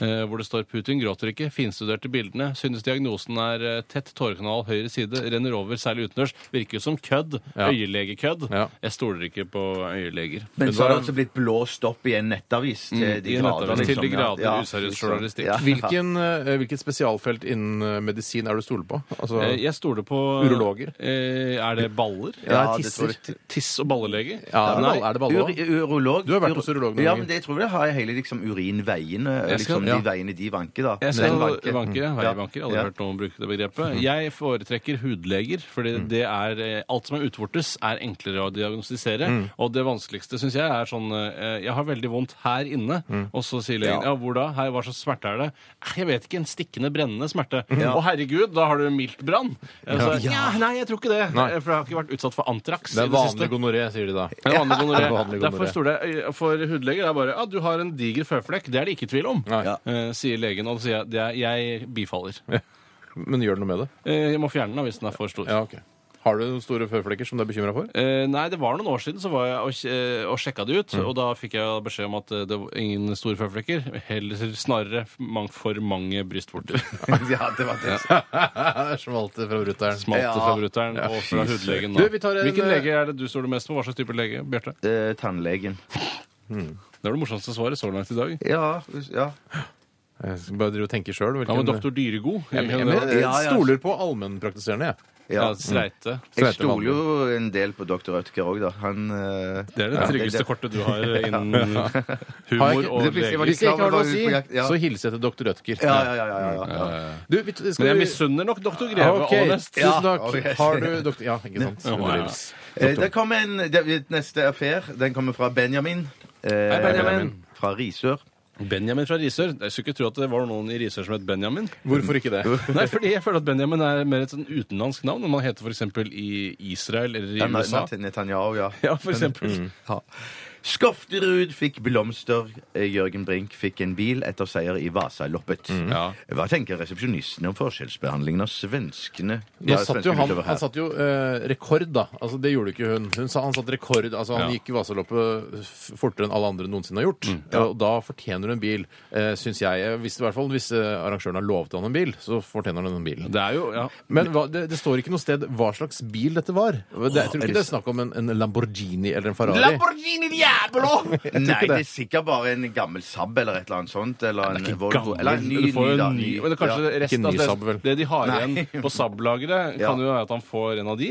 eh, hvor det står 'Putin gråter ikke', finstuderte bildene, synes diagnosen er eh, tett tårekanal, høyre side, renner over, særlig utendørs. Virker jo som kødd. Ja. Øyelegekødd. Ja. Jeg stoler ikke på øyeleger. Men så har det altså blitt blåst opp i en nettavis til Mm, de i en grader. nettavis. Til de ja. grader Ja, useriøs liksom. journalistikk. Ja. Hvilken, eh, hvilket spesialfelt innen eh, medisin er du stoler på? Altså, Eh, Jeg stoler på Urologer? Eh, Er det baller? Ja, Nei, det tror jeg. Tiss- og ballelege? Ja, er det Nei. ball- er det baller Ur, også? urolog. Du har vært hos urolog noen Ja, ganger. men det, jeg tror jeg har hele liksom, urinveiene. Jeg skal- Liksom, ja. De veiene de vanker, da. Jeg skal Den vanke. Mm. ja. Ja. Veivanker. Aldri Ja. hørt noen bruke det begrepet. Jeg foretrekker hudleger, fordi Mm. det er eh, alt som er utvortes, er enklere å diagnostisere. Mm. Og det vanskeligste syns jeg er sånn eh, Jeg har veldig vondt her inne, Mm. og så sier legen ja, hvor da? Hei, hva slags smerte er det? «Eh, Jeg vet ikke. En stikkende, brennende smerte. Mm. Å herregud, da har du mildt brann. Jeg sa, Ja, nei, jeg tror ikke det. Nei. For jeg har ikke vært utsatt for antrax. det i er vanlig gonoré, sier de da. det er vanlig gonoré. Det er vanlig gonoré. Derfor står det øy- for hudleger det er bare at du har en diger føflekk. Det er det ikke tvil om, Nei. eh, sier legen. Og da sier jeg det er, jeg bifaller. Men gjør det noe med det? Eh, jeg må fjerne den da, hvis den er for stor. Ja, ok. Har du noen store føflekker som du er bekymra for? Eh, nei, det var noen år siden så var jeg og, kj- eh, og sjekka det ut. Og da fikk jeg beskjed om at eh, det var ingen store føflekker. Heller snarere f- mang- for mange brystvorter. ja, det var det. Smalt det fra brutter'n. Smalt Ja. fra brutter'n og fra hudlegen. nå. Du, vi tar en, Hvilken eh, lege er det du stoler mest på? Hva slags type lege? Bjarte? Eh, tannlegen. Det var det morsomste svaret så langt i dag. Ja, ja. Jeg skal Eh, bare drive og tenke sjøl. Ja, men doktor Dyregod Jeg, jeg, Ja, jeg, jeg Ja, ja. stoler på allmennpraktiserende, jeg. ja. Streite. Mm. Jeg stoler jo en del på Dr. Rødtger òg, da. Han eh, Det er det ja, tryggeste det- kortet du har innen Har humor jeg ikke- og det visste jeg var leger. litt- Hvis jeg ikke har noe å si, på jakt, ja. så hilser jeg til doktor Rødtger. Ja, ja, ja. ja, ja, ja. Du, vi, skal Men jeg vi- Ah, misunner nok doktor Greve Ok, aller mest. Tusen takk. Ja, ok. Har du doktor... Ja, ikke sant. Ja, ja, ja. Eh, det kommer en det, Neste affær. Den kommer fra Benjamin. Eh, Hei, Benjamin. Fra Risør. Benjamin fra Risør. Jeg skulle ikke tro at det var noen i Risør som het Benjamin. Hvorfor ikke det? Nei, fordi jeg føler at Benjamin er mer et sånn utenlandsk navn enn man heter f.eks. i Israel eller i Ja, USA. Nat- Netanyahu, ja. Ja, for eksempel. Ja. Skofterud fikk blomster. Eh, Jørgen Brink fikk en bil etter seier i Vasaloppet. Ja. Hva tenker resepsjonisten om forskjellsbehandlingen av svenskene? Nå Ja, satt jo svenskene han, utover her. han satt jo eh, rekord, da. Altså, det gjorde ikke hun. hun sa, han satt rekord, altså Han Ja. gikk i Vasaloppet f- fortere enn alle andre noensinne har gjort. Og da fortjener hun en bil, uh, syns jeg. Hvis, i hvert fall, hvis eh, arrangøren har lovet han en bil, så fortjener han en bil. Det er jo ja. Men hva, det, det står ikke noe sted hva slags bil dette var. Det, jeg tror er ikke det er snakk om en, en Lamborghini eller en Ferrari. Lamborghini Diablo! Nei, ikke det. det er sikkert bare en gammel Saab eller et eller annet sånt. Eller en Volvo. Gammel. Eller en ny, Du får jo ny, da, en ny, men det er kanskje Ja. resten Ikke ny av Saab, det, vel? det de har Nei. igjen på Saab-lageret, Ja. Mm. kan jo være at han får en av de.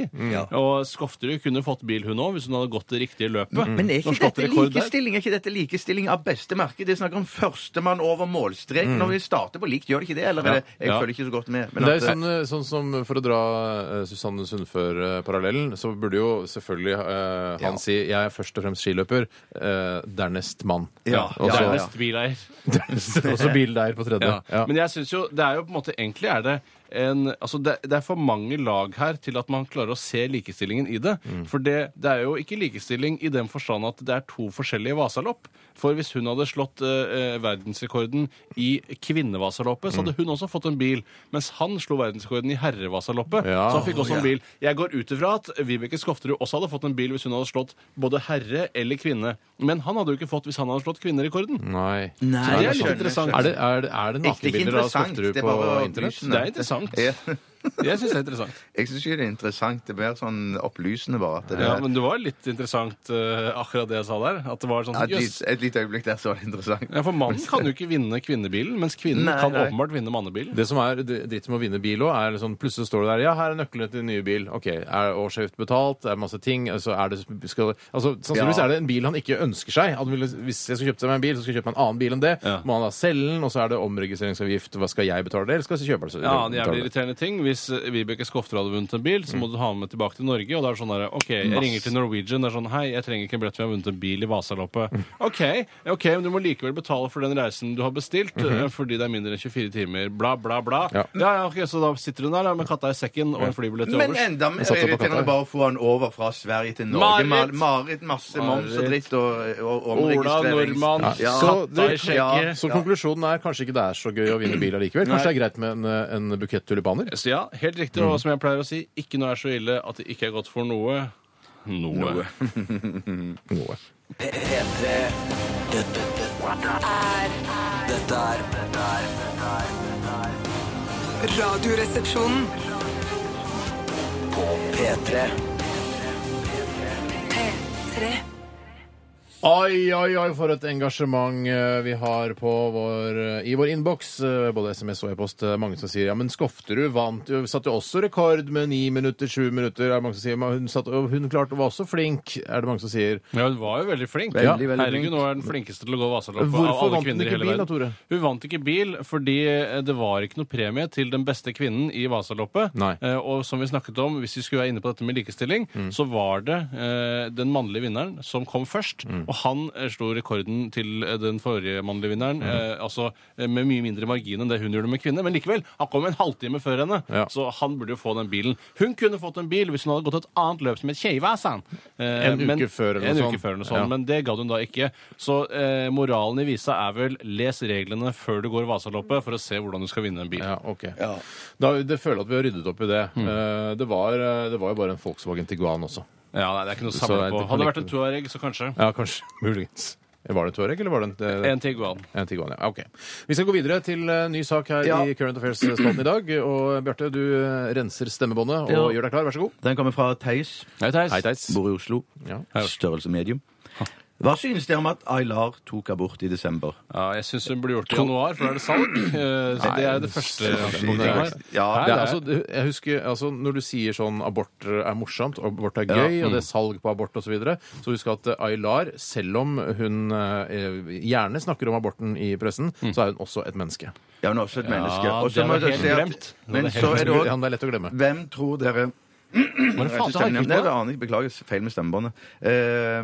Og Skofterud kunne fått bil, hun òg, hvis hun hadde gått det riktige løpet. Men er ikke Norsk dette skatterekord der. likestilling Er ikke dette likestilling av beste merke? Det er snakk om førstemann over målstrek. Når vi starter på likt, gjør det ikke det? Eller er det, jeg Ja. følger ikke så godt med. Men Mm. det er jo at- sånn, eh, sånn som For å dra eh, Susanne Sundfør-parallellen, så burde jo selvfølgelig eh, han si 'jeg er først og fremst skiløper', eh, dernest mann. Ja, og ja, så- ja, ja. Dernest bileier. og så bildeier på tredje. Ja. Men jeg synes jo, det er jo på en måte, egentlig er det en, altså det, det er for mange lag her til at man klarer å se likestillingen i det. Mm. For det, det er jo ikke likestilling i den forstand at det er to forskjellige vasalopp. For hvis hun hadde slått eh, eh, verdensrekorden i kvinnevasaloppet, så Mm. hadde hun også fått en bil. Mens han slo verdensrekorden i herrevasaloppet, Ja. så han fikk også en bil. Jeg går ut ifra at Vibeke Skofterud også hadde fått en bil hvis hun hadde slått både herre eller kvinne. Men han hadde jo ikke fått hvis han hadde slått kvinnerekorden. Nei. Nei, Så det jeg er litt eh, skjønner, interessant. jeg Er det, er, det- er det skjønner. Ikke nakenbilder av interessant, Skofterud det er på bare internett? Det er interessant. Ja. Jeg syns det er interessant. Jeg syns ikke det er interessant. Det er mer sånn opplysende, bare. At det Ja, er- men det var litt interessant eh, akkurat det jeg sa der. At det var sånn Ja, et, jøss. lite- et lite øyeblikk der så var det interessant. Ja, for mannen kan jo ikke vinne kvinnebilen, mens kvinnen Nei, kan nei. åpenbart vinne mannebilen. Det som er dr- dritt med å vinne bil òg, er liksom plutselig står det der Ja, her er nøkkelen til den nye bil. OK. Er årsavgift betalt? Er det masse ting? Altså, er det, skal, altså, sannsynligvis Ja. er det en bil han ikke ønsker seg. Han ville, hvis jeg skulle kjøpt meg en bil, så skulle jeg kjøpe meg en annen bil enn det. Ja. Må han da selge den, og så er det omregistreringsavgift. Hva skal jeg betale det, eller skal jeg kjøpe den? Ja, en jævlig irriterende ting. Hvis eh, Vibeke Skofter hadde vunnet en bil, Mm. så må du ha den med tilbake til Norge. Og da er det sånn der, OK, jeg ringer til Norwegian. Det er sånn Hei, jeg trenger ikke en billett, for jeg har vunnet en bil i Mm. Vasaloppet. OK, ok, men du må likevel betale for den reisen du har bestilt, Mm-hmm. eh, fordi det er mindre enn 24 timer. Bla, bla, bla. Ja. Ja, ja ok, så da sitter hun der da, med katta i sekken og en flybillett til Men overs. enda mer Jeg satser på irriterende katta. bare å få han over fra Sverige til Norge. Marit! Marit, Marit masse moms og dritt og, og Ola omregistrering. Nordmann, Ja. Så katta i det- skjegget. Så konklusjonen er kanskje ikke det er så gøy å vinne bil allikevel. Kanskje det er greit med en, en bukett tulipaner? Så ja, helt riktig. Og som jeg pleier å si, ikke noe er så ille at det ikke er godt for noe. Noe. Noe. P- P3 Dette dette- dette er Dette er Radioresepsjonen. På P3 P3. Oi, oi, oi, for et engasjement eh, vi har på vår, eh, i vår innboks. eh, Både SMS og e-post. Eh, Mange som sier ja, men Skofterud vant jo, satte jo også rekord med ni minutter, sju minutter. Er det mange som sier, men hun, satt, og hun klarte, var også flink, er det mange som sier. Ja, hun var jo veldig flink. Veldig, veldig Herregud, flink. nå er hun flinkeste til å gå Vasaloppet Hvorfor av alle vant hun kvinner i ikke hele bil da, verden. Tore? Hun vant ikke bil fordi eh, det var ikke noe premie til den beste kvinnen i Vasaloppet. Nei. Mm. Eh, Og som vi snakket om, Mm. hvis vi skulle være inne på dette med likestilling, så var det eh, den mannlige vinneren som kom først. Og Og han eh, slo rekorden til eh, den forrige Mm. mannlige vinneren, eh, altså eh, med mye mindre margin enn det hun gjorde med kvinner, men likevel, han kom en halvtime før henne, Ja. så han burde jo få den bilen. Hun kunne fått en bil hvis hun hadde gått et annet løp som et kjeivasan. Eh, En uke før eller en noe sånt. uke før eller noe sånt. Ja. Men det gadd hun da ikke. Så eh, moralen i visa er vel les reglene før du går Vasaloppet for å se hvordan du skal vinne en bil. Ja, ok. Da, det føler jeg at vi har ryddet opp i det. Eh, det, var, eh, det var jo bare en Volkswagen Tiguan også. Ja, nei, det er ikke noe å Så samle er på. det Hadde det vært fornektet. en Touareg, så kanskje. Ja, kanskje. Muligens. Var det Touareg, eller var det en, eh, En Tiguan. En Tiguan, ja. Ok. Vi skal gå videre til eh, ny sak her Ja. i Current Affairs-spalten i dag. Og Bjarte, du eh, renser stemmebåndet og Ja. gjør deg klar. Vær så god. Den kommer fra Theis, Hei, Theis. Hei, Theis. bor i Oslo. Ja. Størrelse medium. Hva synes dere om at Aylar tok abort i desember? Ja, jeg syns hun burde gjort det i januar, for da er det salg. Eh, så det er det første. det er ikke- Ja, Nei, Det det er, er- altså, du- jeg husker, altså, når du sier sånn abort er morsomt, abort er gøy, Mm. og det er salg på abort osv., så, videre, så husk at eh, Aylar, selv om hun eh, gjerne snakker om aborten i pressen, Mm. så er hun også et menneske. ja, hun er også et menneske. Ja, Og så det må var jeg helt si at- glemt. Det var Men helt så er det Ja, også det er lett å glemme. Hvem tror dere Hva er det faen Nei, som har det ikke aner jeg. Beklager, feil med stemmebåndet. Eh,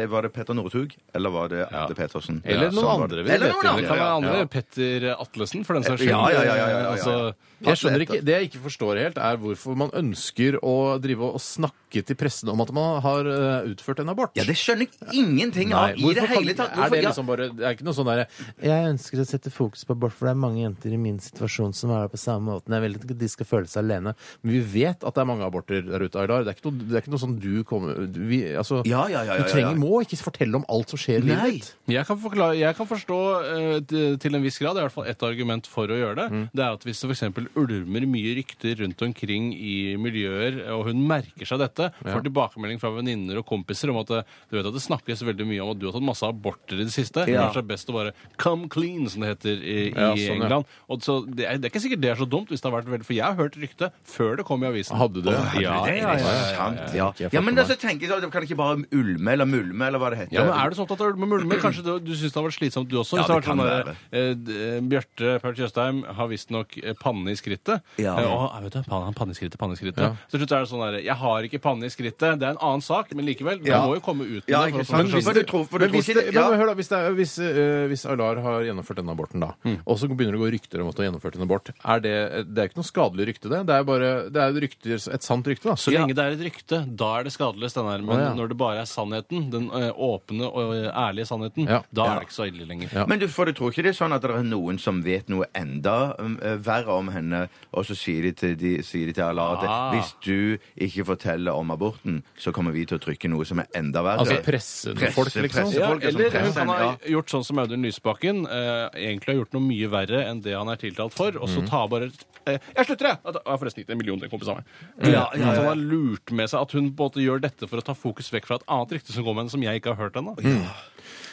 eh, var det Petter Northug, eller var det Arte Petersen? Eller noen som var andre, det. vi Eller vet noen jo, Det andre, kan være ja. andre. Petter Atlesen, for den saks skyld. Ja, ja, ja, ja, ja, ja. Altså, Jeg skjønner ikke, Det jeg ikke forstår helt, er hvorfor man ønsker å drive og snakke til pressen om at man har eh, utført en abort. Ja, det skjønner jeg ingenting Nei, av i det hvorfor kan- hele tatt. Er det Hvorfor- ja. liksom bare, det er ikke noe sånn derre Jeg ønsker å sette fokus på abort, for det er mange jenter i min situasjon som er på samme måten. Jeg vil ikke at de skal føle seg alene. Men vi vet at det er mange aborter der ute, Aylar. Det er ikke noe, det er ikke noe sånn du kommer du- vi, altså, Ja, ja, ja, ja, Du ja, trenger, ja. må ikke fortelle om alt som skjer i livet Nei. ditt. Jeg kan, forklare, jeg kan forstå eh, t- til en viss grad, det er i hvert fall ett argument for å gjøre det. Mm. Det er at hvis det f.eks. ulmer mye rykter rundt omkring i miljøer, og hun merker seg dette, får tilbakemelding fra venninner og kompiser om at eh, du vet at det snakkes veldig mye om at du har tatt masse aborter i det siste. Ja. Kanskje det er best å bare come clean, som det heter i, i Ja, sånn, ja. England. Og så, det, er, det er ikke sikkert det er så dumt, hvis det har vært veldig, for jeg har hørt rykte før det kom i avisen. Hadde du det? Ja, Det ja, er ja. sant, ja. ja, men altså, tenker jeg, så, kan det ikke bare ulme eller mulme, eller hva det heter? Ja, men Er sånn du så opptatt av ulme og mulme? Kanskje du, du syns det har vært slitsomt, du også? Eh, Ja, Hvis det det har vært sånn kan der, eh, d- eh, Bjarte Paul Tjøstheim har visstnok eh, panne i skrittet. Ja. Eh, og, vet du, panne, panne i skrittet, panne i skrittet. Så til slutt er det sånn der, Jeg har ikke panne i skrittet. Det er en annen sak, men likevel. Det Ja. må jo komme ut med Ja, det. ikke for at sant? man Men hvis skjønner. du tror- for du Men tror hvis, ikke det, det- men, ja. hør da, hvis, det, er- hvis, eh, hvis Aylar har gjennomført denne aborten, da, Mm. og så begynner det å gå rykter om at hun har gjennomført en abort, er det, det er ikke noe skadelig rykte, det? Det er jo bare det er jo rykter, et sant rykte, da. Så lenge det er et rykte, da er det skadeløst. den her, Men Å, ja. når det bare er sannheten, den eh, åpne og eh, ærlige sannheten, Ja. da Ja. er det ikke så ille lenger. Ja. Men du, for du tror ikke det er sånn at det er noen som vet noe enda um, eh, verre om henne, og så sier de til, de, sier de til alle at Ah. hvis du ikke forteller om aborten, så kommer vi til å trykke noe som er enda verre. Altså pressen Presse- folk, liksom. presse- Ja, folk er som eller hun pressen, kan ha ja. gjort sånn som Audun Lysbakken. Eh, egentlig har gjort noe mye verre enn det han er tiltalt for, og så Mhm. ta bare eh, Jeg slutter, jeg! At, jeg har forresten gitt en million til en kompis av meg. Ja, Mm. ja, ja. At han har lurt med seg at hun på en måte gjør dette for å ta fokus vekk fra et annet rykte som går med henne, som jeg ikke har hørt ennå.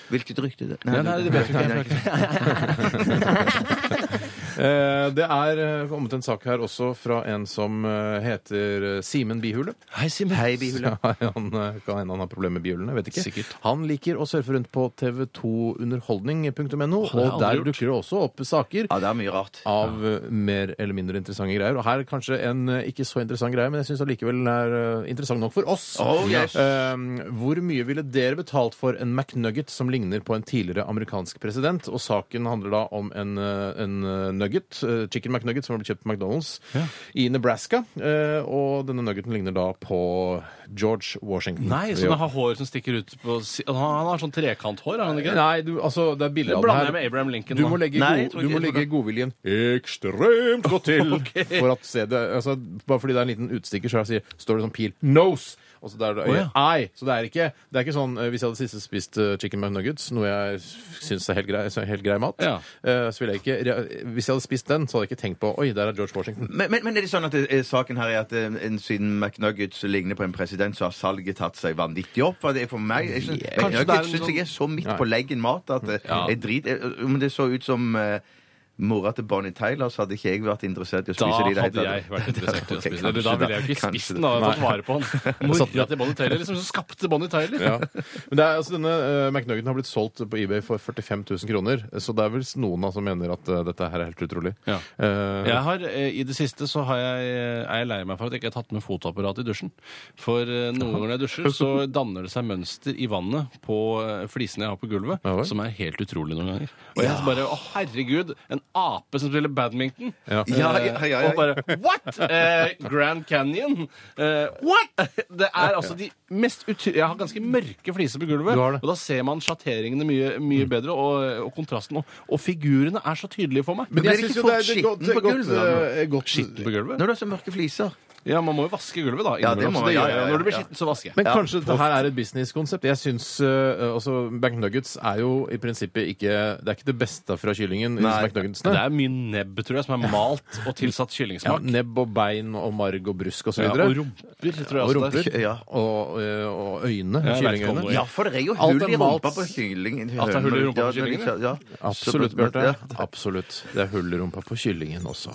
Hvilket rykte er det? Ja, nei, det vet jeg ikke, jeg vet ikke. Eh, Det er eh, kommet en sak her også fra en som eh, heter eh, Simen Bihule. Hei, Simen. Hei, bihule. Ja, han eh, kan hende han har problemer med bihulene. vet ikke. Sikkert. Han liker å surfe rundt på tv2underholdning.no, har jeg og aldri der gjort. dukker det også opp saker Ja, det er mye rart. av eh, mer eller mindre interessante greier. Og her kanskje en eh, ikke så interessant greie, men jeg syns allikevel den er eh, interessant nok for oss. Oh, yes. Eh, hvor mye ville dere betalt for en McNugget som ligner på en tidligere amerikansk president? Og saken handler da om en, eh, en eh, nugget, eh, chicken McNugget, som har blitt kjøpt på McDonald's i Nebraska. Eh, Og denne nuggeten ligner da på George Washington. Nei, så han har hår som stikker ut på si han, han har sånn trekanthår, har han ikke? det? Nei, du, altså, det er bildet Det av blander jeg den med her. Abraham Lincoln. Du nå. må legge, Nei, jeg god, tror ikke- du må jeg tror legge det. godviljen ekstremt godt til for at se det, altså, Bare fordi det er en liten utstikker, så er det- står det sånn pil 'nose'. Og så der, er det Å, ja. øyet, ei, så det er ikke det er ikke sånn eh, Hvis jeg hadde siste spist eh, chicken McNuggets, noe jeg syns er helt grei, så er helt grei mat, Ja. eh, så ville jeg ikke re- Hvis jeg hadde spist den, så hadde jeg ikke tenkt på 'oi, der er George Washington'. Men, men, men er det sånn at eh, saken her er at eh, en, siden McNuggets ligner på en president, så har salget tatt seg vanvittig opp? For det er for meg jeg synes, Kanskje det er en McNuggets syns sånn- eh, jeg er så midt på leggen mat at eh, jeg driter i om det så ut som eh, mora til Bonnie Tyler, så hadde ikke jeg vært interessert i å Da spise de. det hadde heter. jeg vært interessert i å Ok, spise det. Eller Da kanskje ville jeg jo ikke Kanskje spist det. den, da hadde jeg fått Nei. vare på den. Mora til Bonnie Taylor, liksom, som skapte Bonnie Taylor. Ja. Men det er, altså, denne uh, McNuggeten har blitt solgt på eBay for 45 000 kroner, så det er vel noen da, som mener at eh, dette her er helt utrolig. Ja. Eh, Jeg har, eh, I det siste så har jeg, eh, er jeg lei meg for at jeg ikke har tatt med fotoapparat i dusjen. For eh, noen ganger når jeg dusjer, så danner det seg mønster i vannet på eh, flisene jeg har på gulvet, Ja vel. som er helt utrolig noen ganger. Og jeg bare Å, herregud! En ape som spiller badminton! Ja. Eh, Ja, ja, ja, ja. Og bare What?! Eh, Grand Canyon! Eh, what?! Det er altså de mest utro... Jeg har ganske mørke fliser på gulvet, Du har det. Mm. og da ser man sjatteringene mye, mye bedre, og, og kontrasten. Og, og figurene er så tydelige for meg. Men blir jeg det syns ikke jo det er fort det skitten er godt, på godt, gulvet, da, eh, godt Skitten på gulvet. Når du har så mørke fliser Ja, man må jo vaske gulvet, da. Ja, det må innimellom, så det jeg, gjør ja, jeg. ja, Når det blir ja. skittent, så vasker jeg. Men kanskje dette her er et businesskonsept. Jeg syns uh, altså McNuggets er jo i prinsippet ikke Det er ikke det beste fra kyllingen. i disse Det McNuggetsene. er mye nebb, tror jeg, som er malt og tilsatt Ja, kyllingsmak. nebb og bein og marg og brusk og så Ja, videre. og rumper, tror Og jeg. også rumper. det er. Ja. Og, eh, og øyne. Jeg vet ikke om Kyllingøyne. noe- Ja, for det er jo Alt hull er i malt. rumpa på kyllingen. At det er hull i rumpa på Ja, kyllingen, ja. Ja. Så- Absolutt, Bjarte. ja. Absolutt. Det er hull i rumpa på kyllingen også.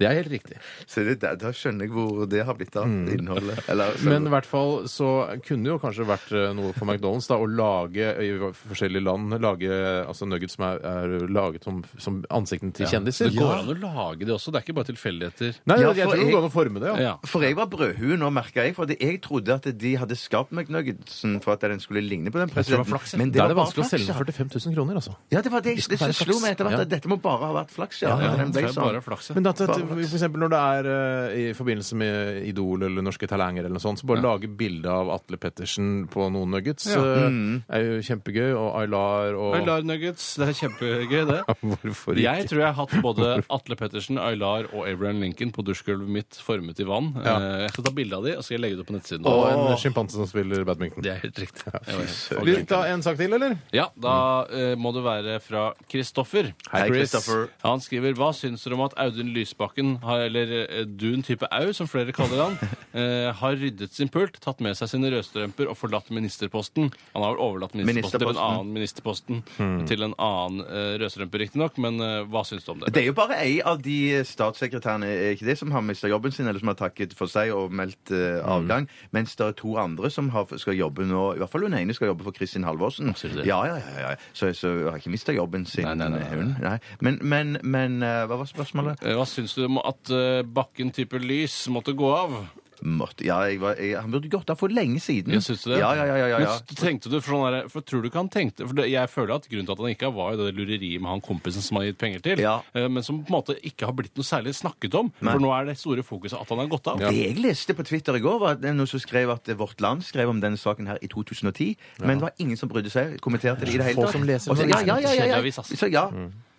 Det er helt riktig. Så det, der, da skjønner jeg hvor det har blitt av innholdet. Eller, Mm. Men i hvert fall så kunne det jo kanskje vært eh, noe for McDonald's da, å lage i forskjellige land lage altså nuggets som er, er laget som, som ansiktene til Så kjendiser. det går an å lage det også. Det er ikke bare tilfeldigheter. Nei, Ja, for jeg tror det jeg- går an å forme det, ja. Ja. For jeg var brødhue nå, merka jeg. For jeg trodde at de hadde skapt McNuggetsen for at den skulle ligne på den presidenten. flaks, ja. Men Da det er var det bare vanskelig å flaks. selge den for 45 000 kroner, altså. Ja, det var det jeg det være som slo flaks. meg etter hvert. Ja. at Dette må bare ha vært flaks, ja. Ja, når den det ble er sånn. bare flaks, ja. Men at, at, Bare flaks. for eksempel når det er eh, i forbindelse med Idol eller Norske Talanger eller noe sånt, så bare lage bilde av Atle Pettersen på noen nuggets eh, er jo kjempegøy, og Aylar og Aylar nuggets, det er kjempegøy, det. Hvorfor ikke? Jeg tror jeg har hatt både Atle Pettersen, Aylar og Abraham Lincoln på dusjgulvet mitt formet i vann. Eh, Jeg skal ta bilde av de, og så skal jeg legge det opp på nettsiden. Og en sjimpanse som spiller badminton. Det er helt riktig. Jeg var helt- Vi tar en sak til, eller? Ja, da eh, må det være fra Kristoffer. Hei, Kristoffer. Han skriver Hva syns dere om at Audun Lysbakken, har, eller eh, Dun type Au, som flere kaller han, eh, har ryddet sin pult, tatt med seg sine rødstrømper og forlatt ministerposten? Han har vel overlatt ministerposten til en Ministerposten. annen ministerposten til en annen eh, rødstrømpe, riktignok, men eh, hva syns du om det? Det er jo bare ei av de eh, statssekretærene er ikke det, som har mista jobben sin, eller som har takket for seg og meldt eh, avgang. Mens det er to andre som har, skal jobbe nå I hvert fall hun ene skal jobbe for Kristin Halvorsen. sier du det? Ja, ja, ja, ja. Så, så har ikke mista jobben sin, Nei, nei, nei, nei. hun. Nei. Men, men, men eh, hva var spørsmålet? Eh, Hva syns du om at eh, Bakken type lys måtte gå av? Måtte, ja, jeg var, jeg, han burde gått av for lenge siden. Ja, syns du det? Ja, ja, ja, ja, ja, ja. Men s- tenkte du, for, sånn der, for tror du ikke han tenkte For det, jeg føler at grunnen til at han ikke har, var jo det lureriet med han kompisen som har gitt penger til, Ja. eh, men som på en måte ikke har blitt noe særlig snakket om. Nei. For nå er det store fokuset at han har gått av. Det jeg leste på Twitter i går, var at det er noen som skrev at Vårt Land skrev om denne saken her i 2010, men det var ingen som brydde seg, kommenterte det i det hele Få tatt. som leser Og så- den ja, avisen. ja, ja, ja, Kjedelig ja. avis, ass. Så, ja.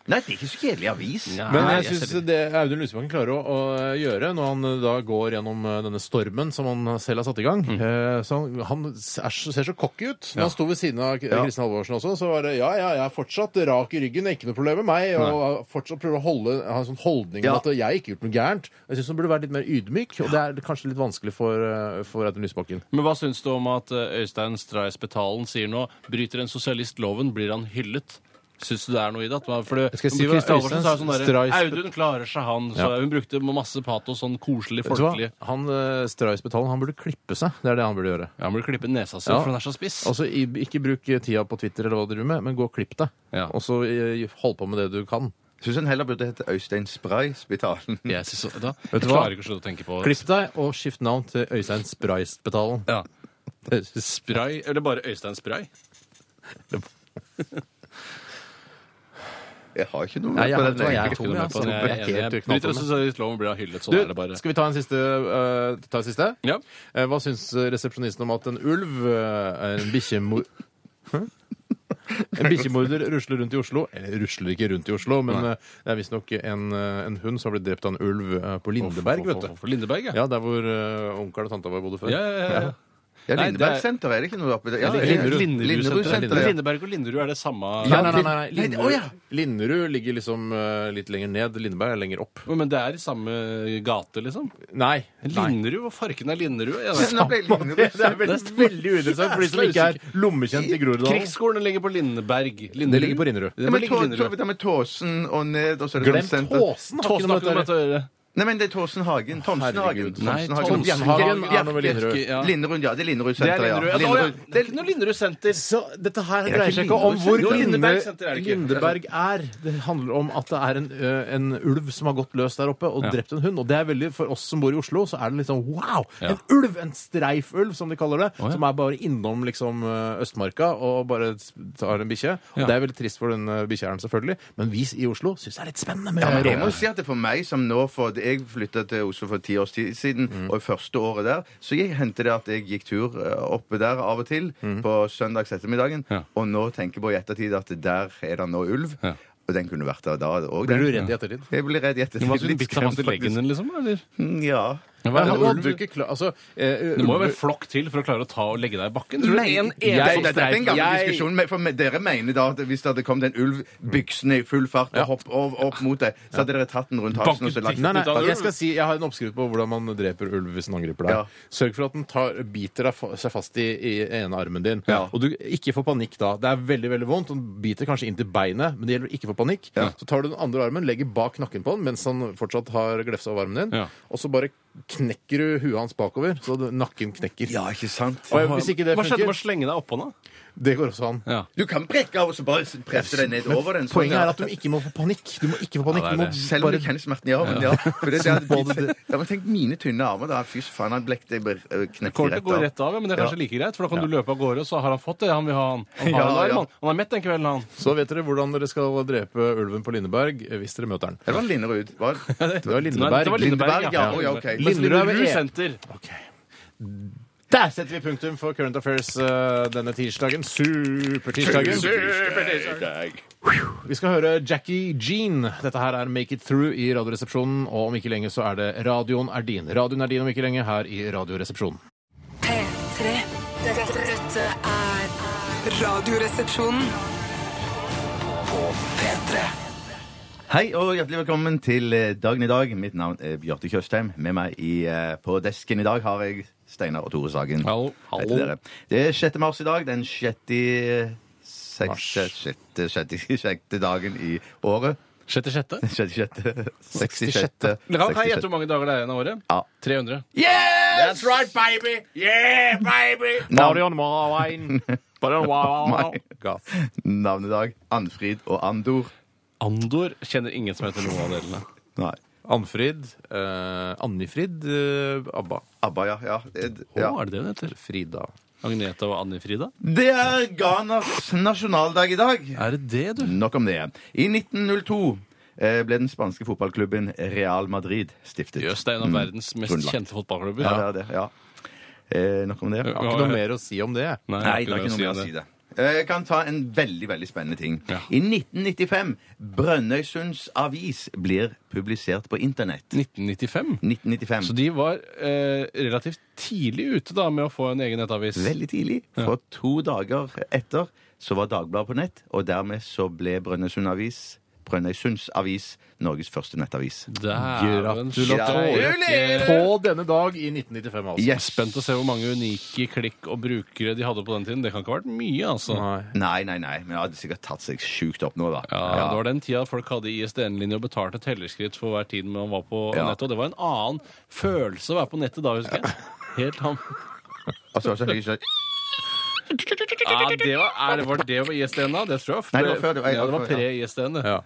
Nei, det er ikke så kjedelig avis. Men Nei, jeg syns det Audun Lusebakken klarer å, å gjøre når han eh, da går gjennom eh, denne stormen som han selv har satt i gang eh, så Han, han er, så- ser så cocky ut. Når han sto ved siden av K- Kristin Halvorsen også, så var det ja, ja, jeg er fortsatt rak i ryggen, ikke noe problem med meg, og har fortsatt prøver å holde, ha en sånn holdning om Ja. at jeg har ikke gjort noe gærent. Jeg syns han burde være litt mer ydmyk, og det er kanskje litt vanskelig for, eh, for Audun Lusebakken. Men hva syns du om at eh, Øystein Stray Spetalen sier nå bryter en sosialist loven, blir han hyllet? Syns du det er noe i det? At man- For det Skal jeg si hva Kristin Halvorsen Øystein sa jo sånn derre Stray- Audun klarer seg, han. Så Ja. hun brukte masse patos, sånn koselig, Vet du hva? folkelig. Han eh, Stray Spetalen, han burde klippe seg. Det er det han burde gjøre. Ja, Han burde klippe nesa si, Ja. for hun er så spiss. Altså, i- ikke bruk tida på Twitter eller hva du driver med, men gå og klipp deg. Ja. Og så eh, hold på med det du kan. Syns han heller burde hete Øystein Spray Spitalen. Jeg, synes, da, jeg Vet du hva? klarer ikke å slutte å tenke på Klipp deg og skift navn til Øystein Spraistbetalen. Ja. Spray, eller bare Øystein Spray? Jeg har ikke noe Nei, jeg på har- den vet du hva, jeg egentlig. Tom, ja, altså. sånn. Jeg Jeg er helt er uten enig. Bryter alt om sosialistloven, blir han hyllet. Sånn Du, er det bare. skal vi ta en siste? eh, ta en siste? Ja. Eh, hva syns resepsjonisten om at en ulv, eh, en bikkjemor... Hæ? En bikkjemorder rusler rundt i Oslo. Eller rusler ikke rundt i Oslo, men eh, det er visstnok en, eh, en hund som har blitt drept av en ulv eh, på Lindeberg, vet du. For Lindeberg, ja. Ja, der hvor eh, onkelen og tanta vår bodde før. Ja, ja, ja, ja. Ja, Nei, det er- Lindebergsenteret, er det ikke noe oppi der? Ja, Linderud. Linderudsenteret. ja. Lindeberg og Linderud er det samme Nei, nei, nei. nei. Nei, det- Linderud, å, ja. Linderud ligger liksom eh, litt lenger ned. Lindeberg er lenger opp. Men det er i samme gate, liksom? Nei. nei. Linderud? Hva farken er Linderud? Jeg vet Men nå ikke. ble Linderud- veldig, veldig uinteressant for de som ikke er lommekjent i Groruddalen. Krigsskolen ligger på Lindeberg. Linderud. Det ligger på Rinnerud. Det Ja, må men ligge Tå- på Linderud. Tå- Det med Tåsen og ned og så er det Glem Tåsen- Tåsen! har ikke Tåsen noe med har ikke noe med dette å gjøre. dette å gjøre. Nei, men det er Tåsenhagen. Tonsenhagen. Nei, Tonsenhagen. Tonsenhagen Bjerke- er noe med Bjerke- Linderud. Ja. Linderud, ja. Det er Det er Linderud-senteret, ja. Linderud. Ja, da, ja. Linderud. Det er ikke noe Linderud-senter. Så dette her Det er dreier ikke seg ikke om hvor Lindeberg- Jo, Linde, Lindeberg senter er det ikke. Lindeberg er. Det handler om at det er en, ø, en ulv som har gått løs der oppe og Ja. drept en hund. Og det er veldig, for oss som bor i Oslo, så er det litt sånn wow! Ja. En ulv! En streifulv, som de kaller det. ja. Som er bare innom liksom ø, Østmarka og bare tar en bikkje. Og Ja. det er veldig trist for den ø, bikkjeeieren, selvfølgelig. Men vi i Oslo syns det er litt spennende med Ja, men jeg må rovdyr. si at det for meg som nå for, Jeg flytta til Oslo for ti år tid siden, Mm. og første året der så jeg hendte det at jeg gikk tur eh, oppe der av og til på søndags ettermiddagen, Mm. Ja. og nå tenker jeg på i ettertid at der er det nå ulv. Ja. Og den kunne vært der da òg. Blir du redd i ettertid? Jeg blir redd i ettertid. Hva skulle Litt du sånn bitt deg fast i skremt, leggen din, liksom? Eller? faktisk. Ja. Men det, hadde du ikke klar- altså, ø, må jo ulver- være flokk til for å klare å ta og legge deg i bakken. Tror du det er en Det, eneste det, det er en gammel Jeg- diskusjon, men for me- dere mener da at hvis det hadde kommet en ulv byksende i full fart og hopp opp, opp mot deg, så hadde dere tatt den rundt halsen og så lagt Banket Nei, nei, ut av en jeg ulv. skal si, jeg har en oppskrift på hvordan man dreper ulv hvis den angriper deg. Ja. Sørg for at den tar, biter deg fa- seg fast i, i ene armen din. Ja. Og du ikke får panikk da. Det er veldig veldig vondt. og Den biter kanskje inn til beinet, men det gjelder å ikke få panikk. Ja. Så tar du den andre armen, legger bak nakken på den mens han fortsatt har glefsa over armen din, Ja. og så bare knekker du huet hans bakover, så du, nakken knekker. Ja, ikke sant? Og hvis ikke det Hva skjedde med funker, å slenge deg oppå nå? det går også an. Du kan brekke av og så bare presse deg ned over den. sånn, Poenget ja. er at du ikke må få panikk. Du må ikke få panikk. Ja, det er du må det. Selv om du bare kjenner smerten i armen, ja. For det, det hadde Både blitt, ja men tenk mine tynne armer, da. Fy faen, han blekte øh, jeg knekte Kortet går rett av, ja, men det er kanskje like greit, for da kan du løpe av gårde, og så har han fått det. Han vil ha han. Han, Ja, har en arm, ja. han. han er mett den kvelden, han. Så vet dere hvordan dere skal drepe ulven på Lindeberg eh, hvis dere møter den. Det var Linderud. Var det? Det var Nei, Lindeberg. det var Lindeberg, Lindeberg, ja. Å, ja, ok. Mens Linderud er vel Linderud en- senter. Der setter vi punktum for Current Affairs eh, denne tirsdagen. Supertirsdagen. Vi skal høre Jackie Jean. Dette her er Make It Through i Radioresepsjonen. Og om ikke lenge så er det Radioen er din. Radioen er din om ikke lenge her i Radioresepsjonen. P3. Dette, dette er Radioresepsjonen. Hei og hjertelig velkommen til eh, dagen i dag. Mitt navn er Bjarte Tjøstheim. Med meg i, eh, på desken i dag har jeg Steinar og Tore Sagen. Hallo. Hei til dere. Det er 6. mars i dag. Den sjette Sekste, sjette, sjette, sjette dagen i året. Sjette, sjette. Sjette, sjette, seksti, sjette, Kan jeg seksti, gjette hvor mange dager det er igjen av året? Ja. Yes! 300. Marion Marwein. Navnedag Annfrid og Andor. Andor kjenner ingen som heter noen av delene. Nei. Annfrid. eh, Annifrid. eh, Abba. ABBA, ja. ja. Det- Å, ja. er det det hun heter? Frida. Agneta og Anne Frida? Det er Ghanas nasjonaldag i dag. Er det det, du? Nok om det. I 1902 eh, ble den spanske fotballklubben Real Madrid stiftet. Jøss, det er en av verdens mest Grunnlagt. kjente fotballklubber. Ja, det er det. Ja. Eh, nok om det. Jeg har ikke noe mer å si om det. jeg. Nei, Nei, det er ikke noe mer å si det. Eh, Jeg kan ta en veldig veldig spennende ting. Ja. I 1995 Brønnøysunds avis blir publisert på internett. 1995? 1995. Så de var eh, relativt tidlig ute da med å få en egen nettavis. Veldig tidlig. For to dager etter så var Dagbladet på nett, og dermed så ble Brønnøysund Avis Brønnøysunds Avis Norges første nettavis. Dæven Gratulerer. På denne dag i 1995, altså. Yes. Spent å se hvor mange unike klikk og brukere de hadde på den tiden. Det kan ikke ha vært mye, altså. Nei. Nei, nei, nei, men det hadde sikkert tatt seg sjukt opp nå, da. Ja, Det var den tida folk hadde ISDN-linje og betalte tellerskritt for hver tid man var på Ja. nettet. Og det var en annen følelse å være på nettet da, husker jeg. Helt annen. Og så var det så høy så- Ja, det var, er det, var det var ISDN da? Det tror jeg. Nei, det var før, det var- ja, det var ja. pre-ISDN, det. Ja.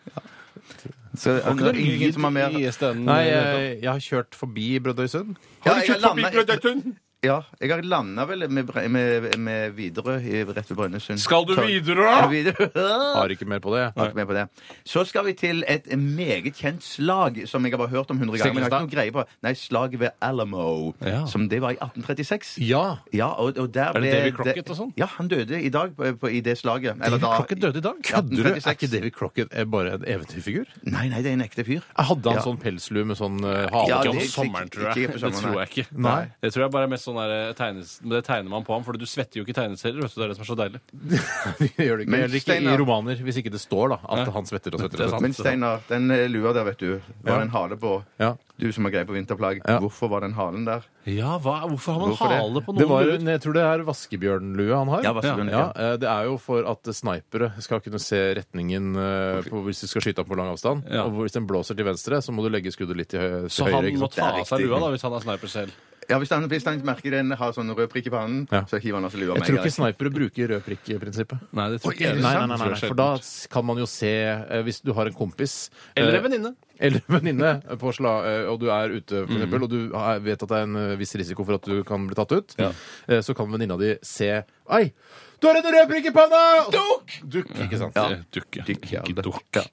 så det var ingen som har mer I ISDN, Nei, eh, jeg, jeg har kjørt forbi Brødøysund. Ja, jeg landa ja, jeg har landa vel med, Bre- med, med Widerøe i- rett ved Brønnøysund. Skal du Så- Widerøe? Ja, Widerøe? Har ikke mer på det. Takk med på det. Så skal vi til et meget kjent slag som jeg har bare hørt om 100 ganger. Men jeg har ikke noe greie på. Nei, slaget ved Alamo, Ja. som det var i 1836. Ja. Ja, og, og der Er det ble David Crockett og sånn? Ja, han døde i dag på, på, i det slaget. Eller da- Klokken døde i dag. Kødder du? Er 1836. ikke David Crockett eh, bare en eventyrfigur? Nei, nei, det er en ekte fyr. Hadde han Ja. sånn pelslue med sånn uh, Ja, hale? Ikke om det- sommeren, tror jeg. ikke på Det sommeren, tror nei. jeg ikke. Nei. Det tror jeg bare er mest sånn der, tegnes, men det tegner man på ham, for du svetter jo ikke i tegneserier. Vet du, det er det som er så deilig. Det gjør det ikke. Men Heller ikke i Steinar- romaner, hvis ikke det står da, at han svetter og svetter. og svetter. Men Steinar, den eh, lua der, vet du, var Ja. det en hale på? Ja. Du som har greie på vinterplagg, Ja. hvorfor var den halen der? Ja, hva, hvorfor har man Hvorfor det? hale på Det noen var, luer? jeg tror det er vaskebjørnlue han har. Ja, vaskebjørn, ja. eh, Det er jo for at snipere skal kunne se retningen eh, på hvis de skal skyte opp på lang avstand. Ja. Og hvis den blåser til venstre, så må du legge skuddet litt til, hø til Så høyre. han ikke må Eh, sant? ta Det er av seg riktig. lua da, hvis han er sniper selv. Ja, Hvis han, hvis han merker den har sånn rød prikk i pannen, Ja. så hiver han altså lua med. Jeg tror ikke snipere bruker rød prikk-prinsippet. Nei, det tror Oi, er det jeg. Nei, nei, sant? nei, nei, nei, for da s- kan man jo se eh, Hvis du har en kompis Eller eh, en venninne. Eller en venninne på sla, eh, og du er ute, for Mhm. eksempel, og du har- vet at det er en eh, viss risiko for at du kan bli tatt ut, eh, så kan venninna di se Ei! Du har en rød prikk i panna! Dukk! Dukk, ikke sant? Ja. Dukke. Dukk, ja, Ikke det- dukk. ja.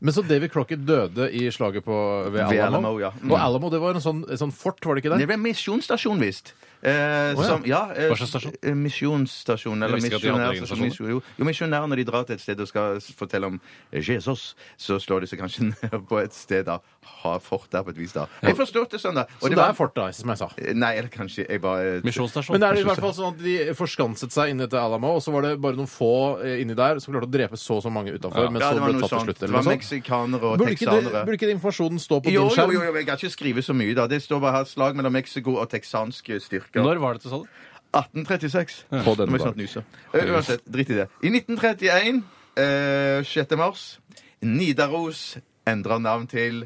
Men så David Crocket døde i slaget på, ved Alamo. Ved Alamo, ja. Mm. Og Alamo det var en sånn, en sånn fort, var det ikke Det det? ble misjonsstasjon, visst. Eh, ja. som, ja, eh, Hva slags stasjon? eh, Misjonsstasjon. Eller visste ikke at de hadde misjonær, egen som- stasjon. misjon- jo, jo, misjonærer når de drar til et sted og skal s- fortelle om Jesus, så slår de seg kanskje ned på et sted da. Har fort der på et vis, da. Jeg forstår det sånn, da. Og Så det var- er fort, da, som jeg sa. Nei, eller kanskje jeg bare Misjonsstasjon. Men det er i hvert fall sånn at de forskanset seg inni til Alamo, og så var det bare noen få eh, inni der som klarte å drepe så og så mange utafor, men Ja, så det var noe ble det tatt til sånt. slutt. Det Eller var noe sånt. meksikanere og Burde ikke, det, texanere. burde ikke den informasjonen stå på Jo, jo, din skjerm? jo, jo, jeg kan ikke skrive så mye, da. Det står bare her slag mellom Mexico og texanske styrker. Når var dette, sa du? 1836. På Nå denne må jeg snart nyse. Eh, Uansett, drit i det. I 1931, eh, 6. mars, Nidaros endrer navn til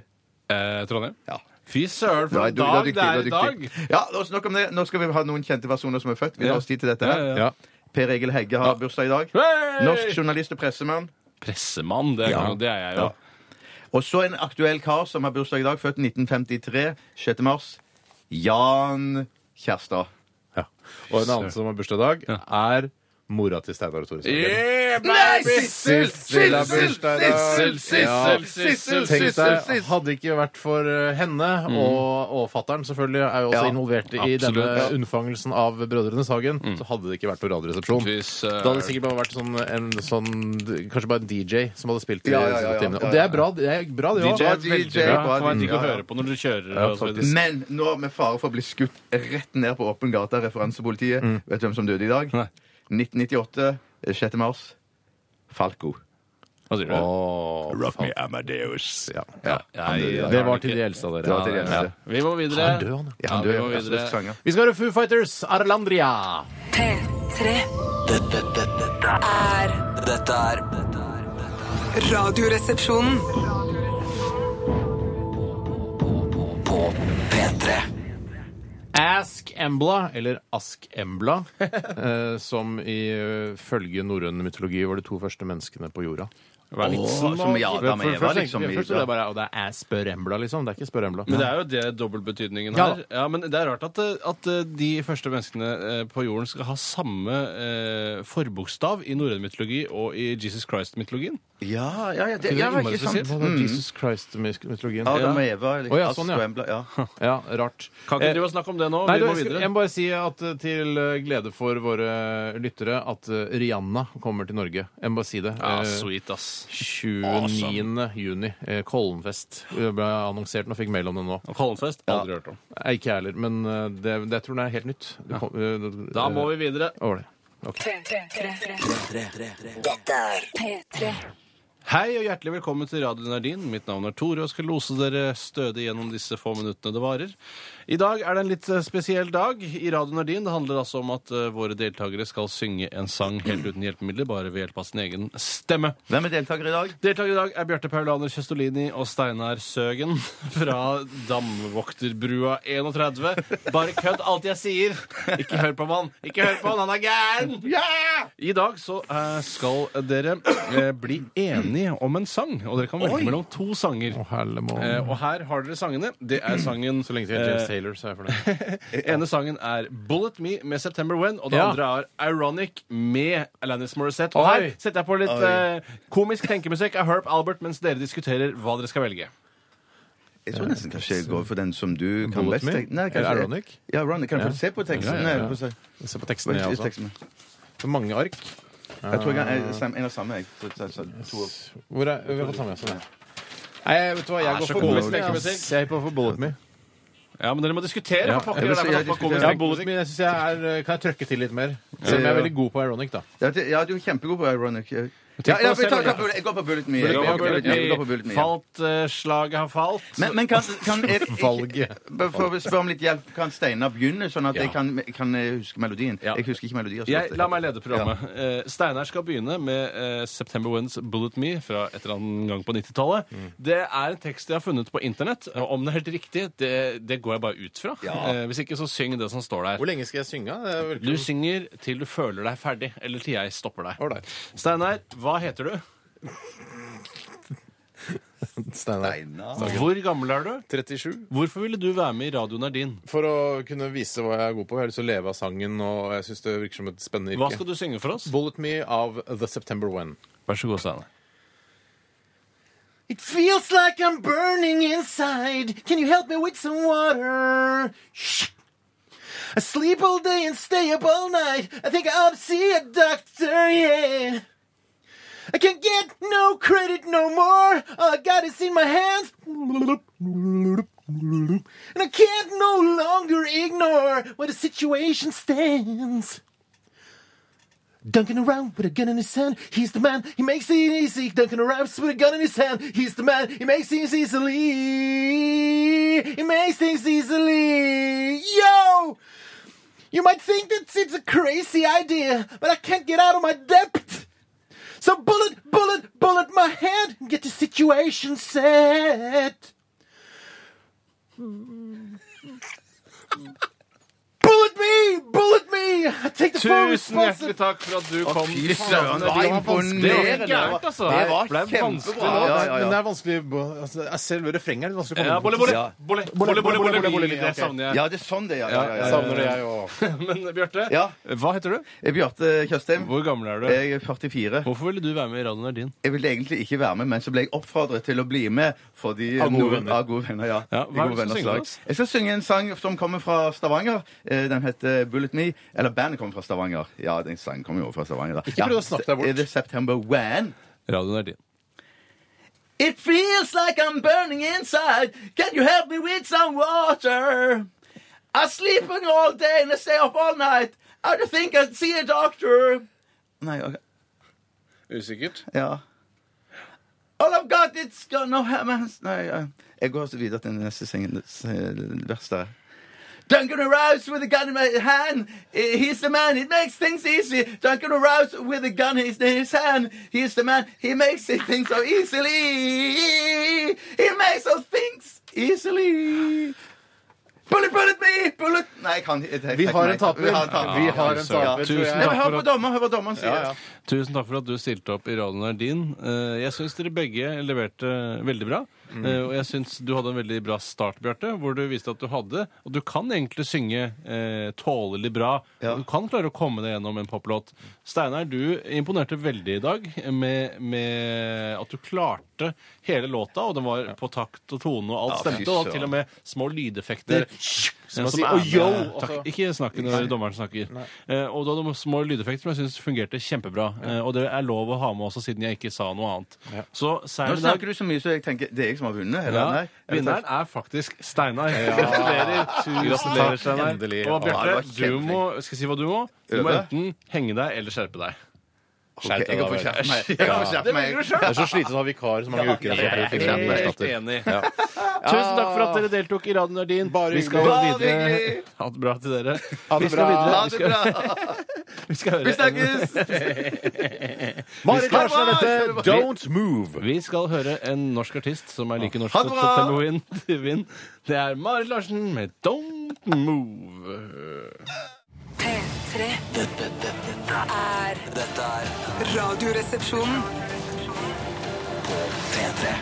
Eh, Trondheim? Ja. Fy søren, for Nei, en du- du dag dyktig, det er du i dag! dyktig. Ja, la oss- nok om det. Nå skal vi ha noen kjente personer som er født. Vi tar oss tid til dette. her. Ja, ja, Ja. Per Egil Hegge har bursdag i dag. Hey! Norsk journalist og pressemann. Pressemann, det er, Ja. jo- det er jeg jo. Ja. Og så en aktuell kar som har bursdag i dag, født 1953, 6. mars. Jan Kjærstad. Ja. Og en annen som har bursdag i dag, er mora til Steinar og Tore Sagen. Nei, Sissel! Sissel har bursdag i dag. Sissel, Sissel, Sissel, Tenk deg, Sissel! hadde ikke vært for eh, henne, og, og fatteren selvfølgelig er jo også Ja, involvert i absolutt. denne Ja. unnfangelsen av Brødrenes Hagen, så hadde det ikke vært noen radioresepsjon. Fy Da søren. hadde det sikkert bare vært sånn, en sånn Kanskje bare en DJ som hadde spilt i Ja, ja, ja, ja. disse timene. Og det er bra, det er bra det DJ, òg. DJ, Ja, bra. det var digg å Ja, ja. høre på når du kjører. og så videre. Men nå med fare for å bli skutt rett ned på åpen gate av referansepolitiet Mm. Vet du hvem som døde i dag? Nei. 1998, 6. mars. Falco. Hva sier du? Rock me Amadeus. Ja. Ja. Nei, døde i Det dag. var til de eldste av Det var til dere. de eldste. Vi må videre. Han døde, han, Ja, han Ja, vi døde. må videre. Østerriksk sanger. Vi skal høre Foo Fighters, Arlandria. P3 Dette, dette, dette, er- er dette er dette er- dette er Radioresepsjonen. På P3 Ask Embla, eller Ask Embla, eh, som ifølge norrøn mytologi var de to første menneskene på jorda. Hva er vitsen? Åh, som ja, da med Eva, liksom. i- Først så det bare, og det er Spør Embla, liksom. Det er ikke Spør Embla. Men det er jo det dobbeltbetydningen Ja. her. Ja, men det er rart at, eh, at eh, de første menneskene eh, på jorden skal ha samme eh, forbokstav i norrøn mytologi og i Jesus Christ-mytologien. Ja, ja, ja, det, Ikke det ja, ikke innmari sant? Hva er Jesus Christ-mytologien. Adam og Eva. eller Å, ja, Astrid sånn, ja. og Embla, ja. Ja, rart. Kan Eh, ikke du bare snakke om det nå? Nei, du, vi må jeg, skal, videre. jeg må bare si at eh, til eh, glede for våre lyttere at eh, Rihanna kommer til Norge. Jeg må bare si det. Ja, Eh, sweet, ass. 29. juni. Eh, Kollenfest. Det ble annonsert og fikk mail om det nå. Og Kollenfest? Aldri hørt om. Nei, Ikke jeg heller, men eh, det, det tror jeg er helt nytt. Det kom- eh, det- Da må eh, vi videre. over det. P3. Hei og hjertelig velkommen til Radio Nardin. Mitt navn er Tore og jeg skal lose dere stødig gjennom disse få minuttene det varer. I dag er det en litt eh, spesiell dag i Radio Nardin. Det handler altså om at eh, våre deltakere skal synge en sang helt uten hjelpemidler, bare ved hjelp av sin egen stemme. Hvem er deltaker i dag? Deltakere i dag er Bjarte Paulaner Kjøstolini og Steinar Søgen fra Damvokterbrua 31. Bare kødd alt jeg sier! Ikke hør på han! Ikke hør på han, han er gæren! I dag så eh, skal dere eh, bli enige om en sang, og dere kan velge mellom to sanger. Helle må- Eh, og her har dere sangene. Det er sangen eh, Så lenge til James Taylor, så er jeg fornøyd. ene sangen er Bullet Me med September When, og det Ja. andre er Ironic med Alanis Morissette. Og Oi. her setter jeg på litt eh, komisk tenkemusikk av Herb Albert mens dere diskuterer hva dere skal velge. Jeg tror nesten kanskje jeg går for den som du kan Bullet best. Me? tenke- Nei, Eller kanskje- Ironic? Ja, Ironic. Kan jeg få se på teksten? Ja, ja, ja. Nei, få se. Se på teksten, jeg altså. Ikke også. Ah. teksten. For mange ark. Jeg tror jeg er sam- en av samme, jeg. Så- så- så- to- Hvor er, vi har fått ta med oss den. Nei, vet du hva, jeg Er går så for komisk Bullet Me. lekemusikk. ass. Jeg går for Bullet Me. Ja, men dere må diskutere. Ja, for pokker, jeg vil det er si- derfor jeg det er Eh, komisk. Ja, bullet, men jeg synes jeg er, eh, kan jeg trøkke til litt mer? Selv om jeg er veldig god på ironic, da. Ja, det- ja, du er kjempegod på ironic. Ja, ja, jeg, tar- jeg, tar bullet- jeg går på bullet me. Jeg går på bullet me. Jeg går på bullet me, ja. Falt, eh, slaget har falt. Men, men kan, kan jeg, Valget. Bare For å spørre om litt hjelp, kan Steinar begynne, sånn at jeg kan, kan huske melodien? altså. Ja. Jeg husker ikke melodier. så Jeg, godt. la meg lede programmet. Eh, Steinar skal begynne med eh, 'September Winds Bullet Me' fra et eller annet gang på 90-tallet. Det er en tekst jeg har funnet på internett. og Om det er helt riktig, det, det går jeg bare ut fra. Eh, hvis ikke, så syng det som står der. Hvor lenge skal jeg synge? da? Det er virkelig- Du synger til du føler deg ferdig, eller til jeg stopper deg. Ålreit. Steinar, hva heter du? Steinar. Hvor gammel er du? 37. Hvorfor ville du være med i radioen er din? For å kunne vise hva jeg er god på. Jeg har lyst til å leve av sangen, og jeg syns det virker som et spennende Hva skal yrke. du synge for oss? Bullet Me av The September When. Vær så god, Steinar. It feels like I'm burning inside. Can you help me with some water? Shh. I sleep all day and stay up all night. I think I'll see a doctor, yeah. I can't get no credit no more. All I got is in my hands. And I can't no longer ignore where the situation stands. Dunking around with a gun in his hand, he's the man, he makes it easy. Dunking around with a gun in his hand, he's the man, he makes things easily. He makes things easily. Yo! You might think that it's a crazy idea, but I can't get out of my depth. So bullet, bullet, bullet my head and get the situation set. Bullet me! Bullet me! I take the full Tusen responsibility. hjertelig takk for at du Å, kom. Fy søren, det Faen, var det var vanskelig. Det var imponerende! gærent, altså. Det var Ble vanskelig kjempebra. Ja, nå. ja, Men det ja. er vanskelig bo- altså, det er Selve refrenget er litt vanskelig å komme Ja, bort til. bolle, bolle, Ja. bolle, bolle, bolle, bolle, bolle, Ja, bolle, det ok. savner jeg. ja, det er sånn det er. Ja, ja, ja, Jeg ja, savner det, jeg òg. Men Bjarte, Ja. hva heter du? Jeg er Bjarte Tjøstheim. Hvor gammel er du? Jeg er 44. Hvorfor ville du være med i radioen er din? Jeg ville egentlig ikke være med, men så ble jeg oppfordret til å bli med. Fordi Av gode noen- venner. Av gode venner ja. I Ja, hva er gode det du skal venners synge lag. for oss? Jeg skal synge en sang som kommer fra Stavanger. Eh, Den heter Bullet Me. Eller bandet kommer fra Stavanger. Ja, den sangen kommer jo fra Stavanger. Da. Ikke prøv å snakke deg bort. Er det September When? Radioen er din. It feels like I'm burning inside. Can you help me with some water? I'm sleeping all day and I stay up all night. I don't think I see a doctor. Nei, ok. Usikkert. Ja. All I've got it's gonna happen Nei, ja. jeg går så videre til den neste sengen, s- vers der. Duncan Arouse with a gun in my hand. Eh, He's the man, it makes things easy. Duncan Arouse with a gun in his- in his hand. He's the man, he makes things so easily. He makes those things easily. Bullet, bullet me, bullet Nei, jeg kan ikke. Vi har en taper. Vi har en taper. Vi har Ja. en taper, tror Tusen Nei, jeg. men Hør på dommeren, hør på dommeren sier. Ja, ja. Tusen takk for at du stilte opp i radioen er din. Eh, Jeg syns dere begge leverte veldig bra. Mm. Eh, Og jeg syns du hadde en veldig bra start, Bjarte, hvor du viste at du hadde Og du kan egentlig synge eh, tålelig bra. Ja. Du kan klare å komme deg gjennom en poplåt. Steinar, du imponerte veldig i dag med, med at du klarte hele låta, og den var på takt og tone, og alt Ja, fy stemte. Og søren. til og med små lydeffekter. Eh, Som man sier, og yo, med- Altså, også. Takk. Ikke snakke når dommeren snakker. Eh, og da hadde små lydeffekter som jeg syns fungerte kjempebra. Eh, og det er lov å ha med også, siden jeg ikke sa noe annet. Så Nå seieren i dag snakker du så mye, så jeg tenker det er jeg som har vunnet. Eller? ja, Nei. Eller- Vinneren er faktisk Steinar. Gratulerer. Gratulerer, Steinar. Endelig. Og Ja, det var Bjarte, kjempefint. du må skal jeg si hva du må. Du må Øve. enten henge deg eller skjerpe deg. Ok, jeg kan få kjeft meg. Jeg kan få kjeft Det velger du meg. sjøl. Det er så slitsomt å ha vikar så mange uker. Jeg er helt enig. Tusen takk for at dere deltok i Radio Nardin. Bare Vi skal hyggelig. Bare videre. hyggelig. Ha det bra til dere. Ha det Vi skal bra. videre. Ha Vi det skal- bra. Vi skal høre Vi snakkes. Marit skal- Larsen er dette. Don't move. Vi skal høre en norsk artist som er like norsk Ha det som bra! September Wind. Wind. Det er Marit Larsen med Don't Move. P3 Dette, dette, dette, er dette er Radioresepsjonen. P3.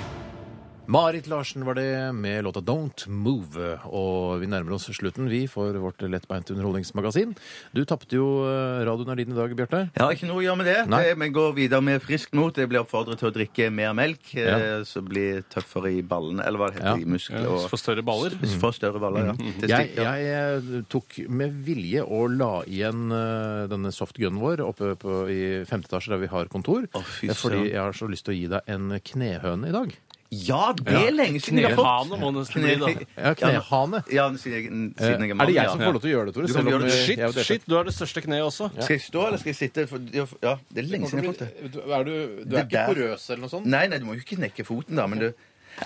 Marit Larsen var det med låta Don't Move. Og vi nærmer oss slutten, vi, for vårt lettbeinte underholdningsmagasin. Du tapte jo eh, radioen er din i dag, Bjarte. Ja, ikke noe å gjøre med det. Nei. det. Men går videre med friskt mot. Jeg blir oppfordret til å drikke mer melk, eh, Ja. så blir tøffere i ballene. Eller hva det Ja. heter. i Muskler og For større baller. Få større baller, ja. Testikler. Mm-hmm. Jeg, jeg eh, tok med vilje og la igjen eh, denne softgunen vår oppe på, i femte etasje der vi har kontor. Å, fy eh, fordi søren. jeg har så lyst til å gi deg en knehøne i dag. Ja, det er lenge siden jeg har fått! Knehane må nesten bli, da. Ja, knehane. Ja, siden jeg, siden jeg Er det jeg som ja. får lov til å gjøre det, Du Tore? kan Selv om, gjøre det. eh, Shit, jeg er jo deltaker. shit, du har det største kneet også. Skal jeg stå, eller skal jeg sitte? For- Ja, det er lenge siden jeg har fått det. Du- Er du, du Det er ikke der. porøs eller noe sånt? Nei, nei, du må jo ikke knekke foten, da, men du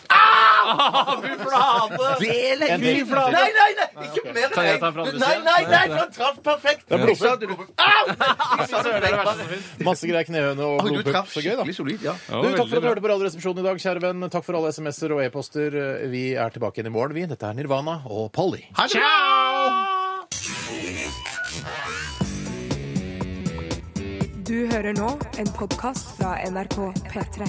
Ah, Flate! Det er lenge En til, en siden! til. Nei, nei, nei! Ikke mer Kan jeg enn ta fra andre én! Nei, siden? nei, nei, for han traff perfekt! Jeg sa det, du- Au! Jeg sa det, det var- Masse greier knehøne og Oi, Du blodpupp. traff Så gøy, da. skikkelig solid, ja. Ja, Du, takk for at veldig du bra. hørte på Radioresepsjonen i dag, kjære venn. Takk for alle SMS-er og e-poster. Eh, Vi er tilbake igjen i morgen, vi. Dette er Nirvana og Polly. Du hører nå en podkast fra NRK P3.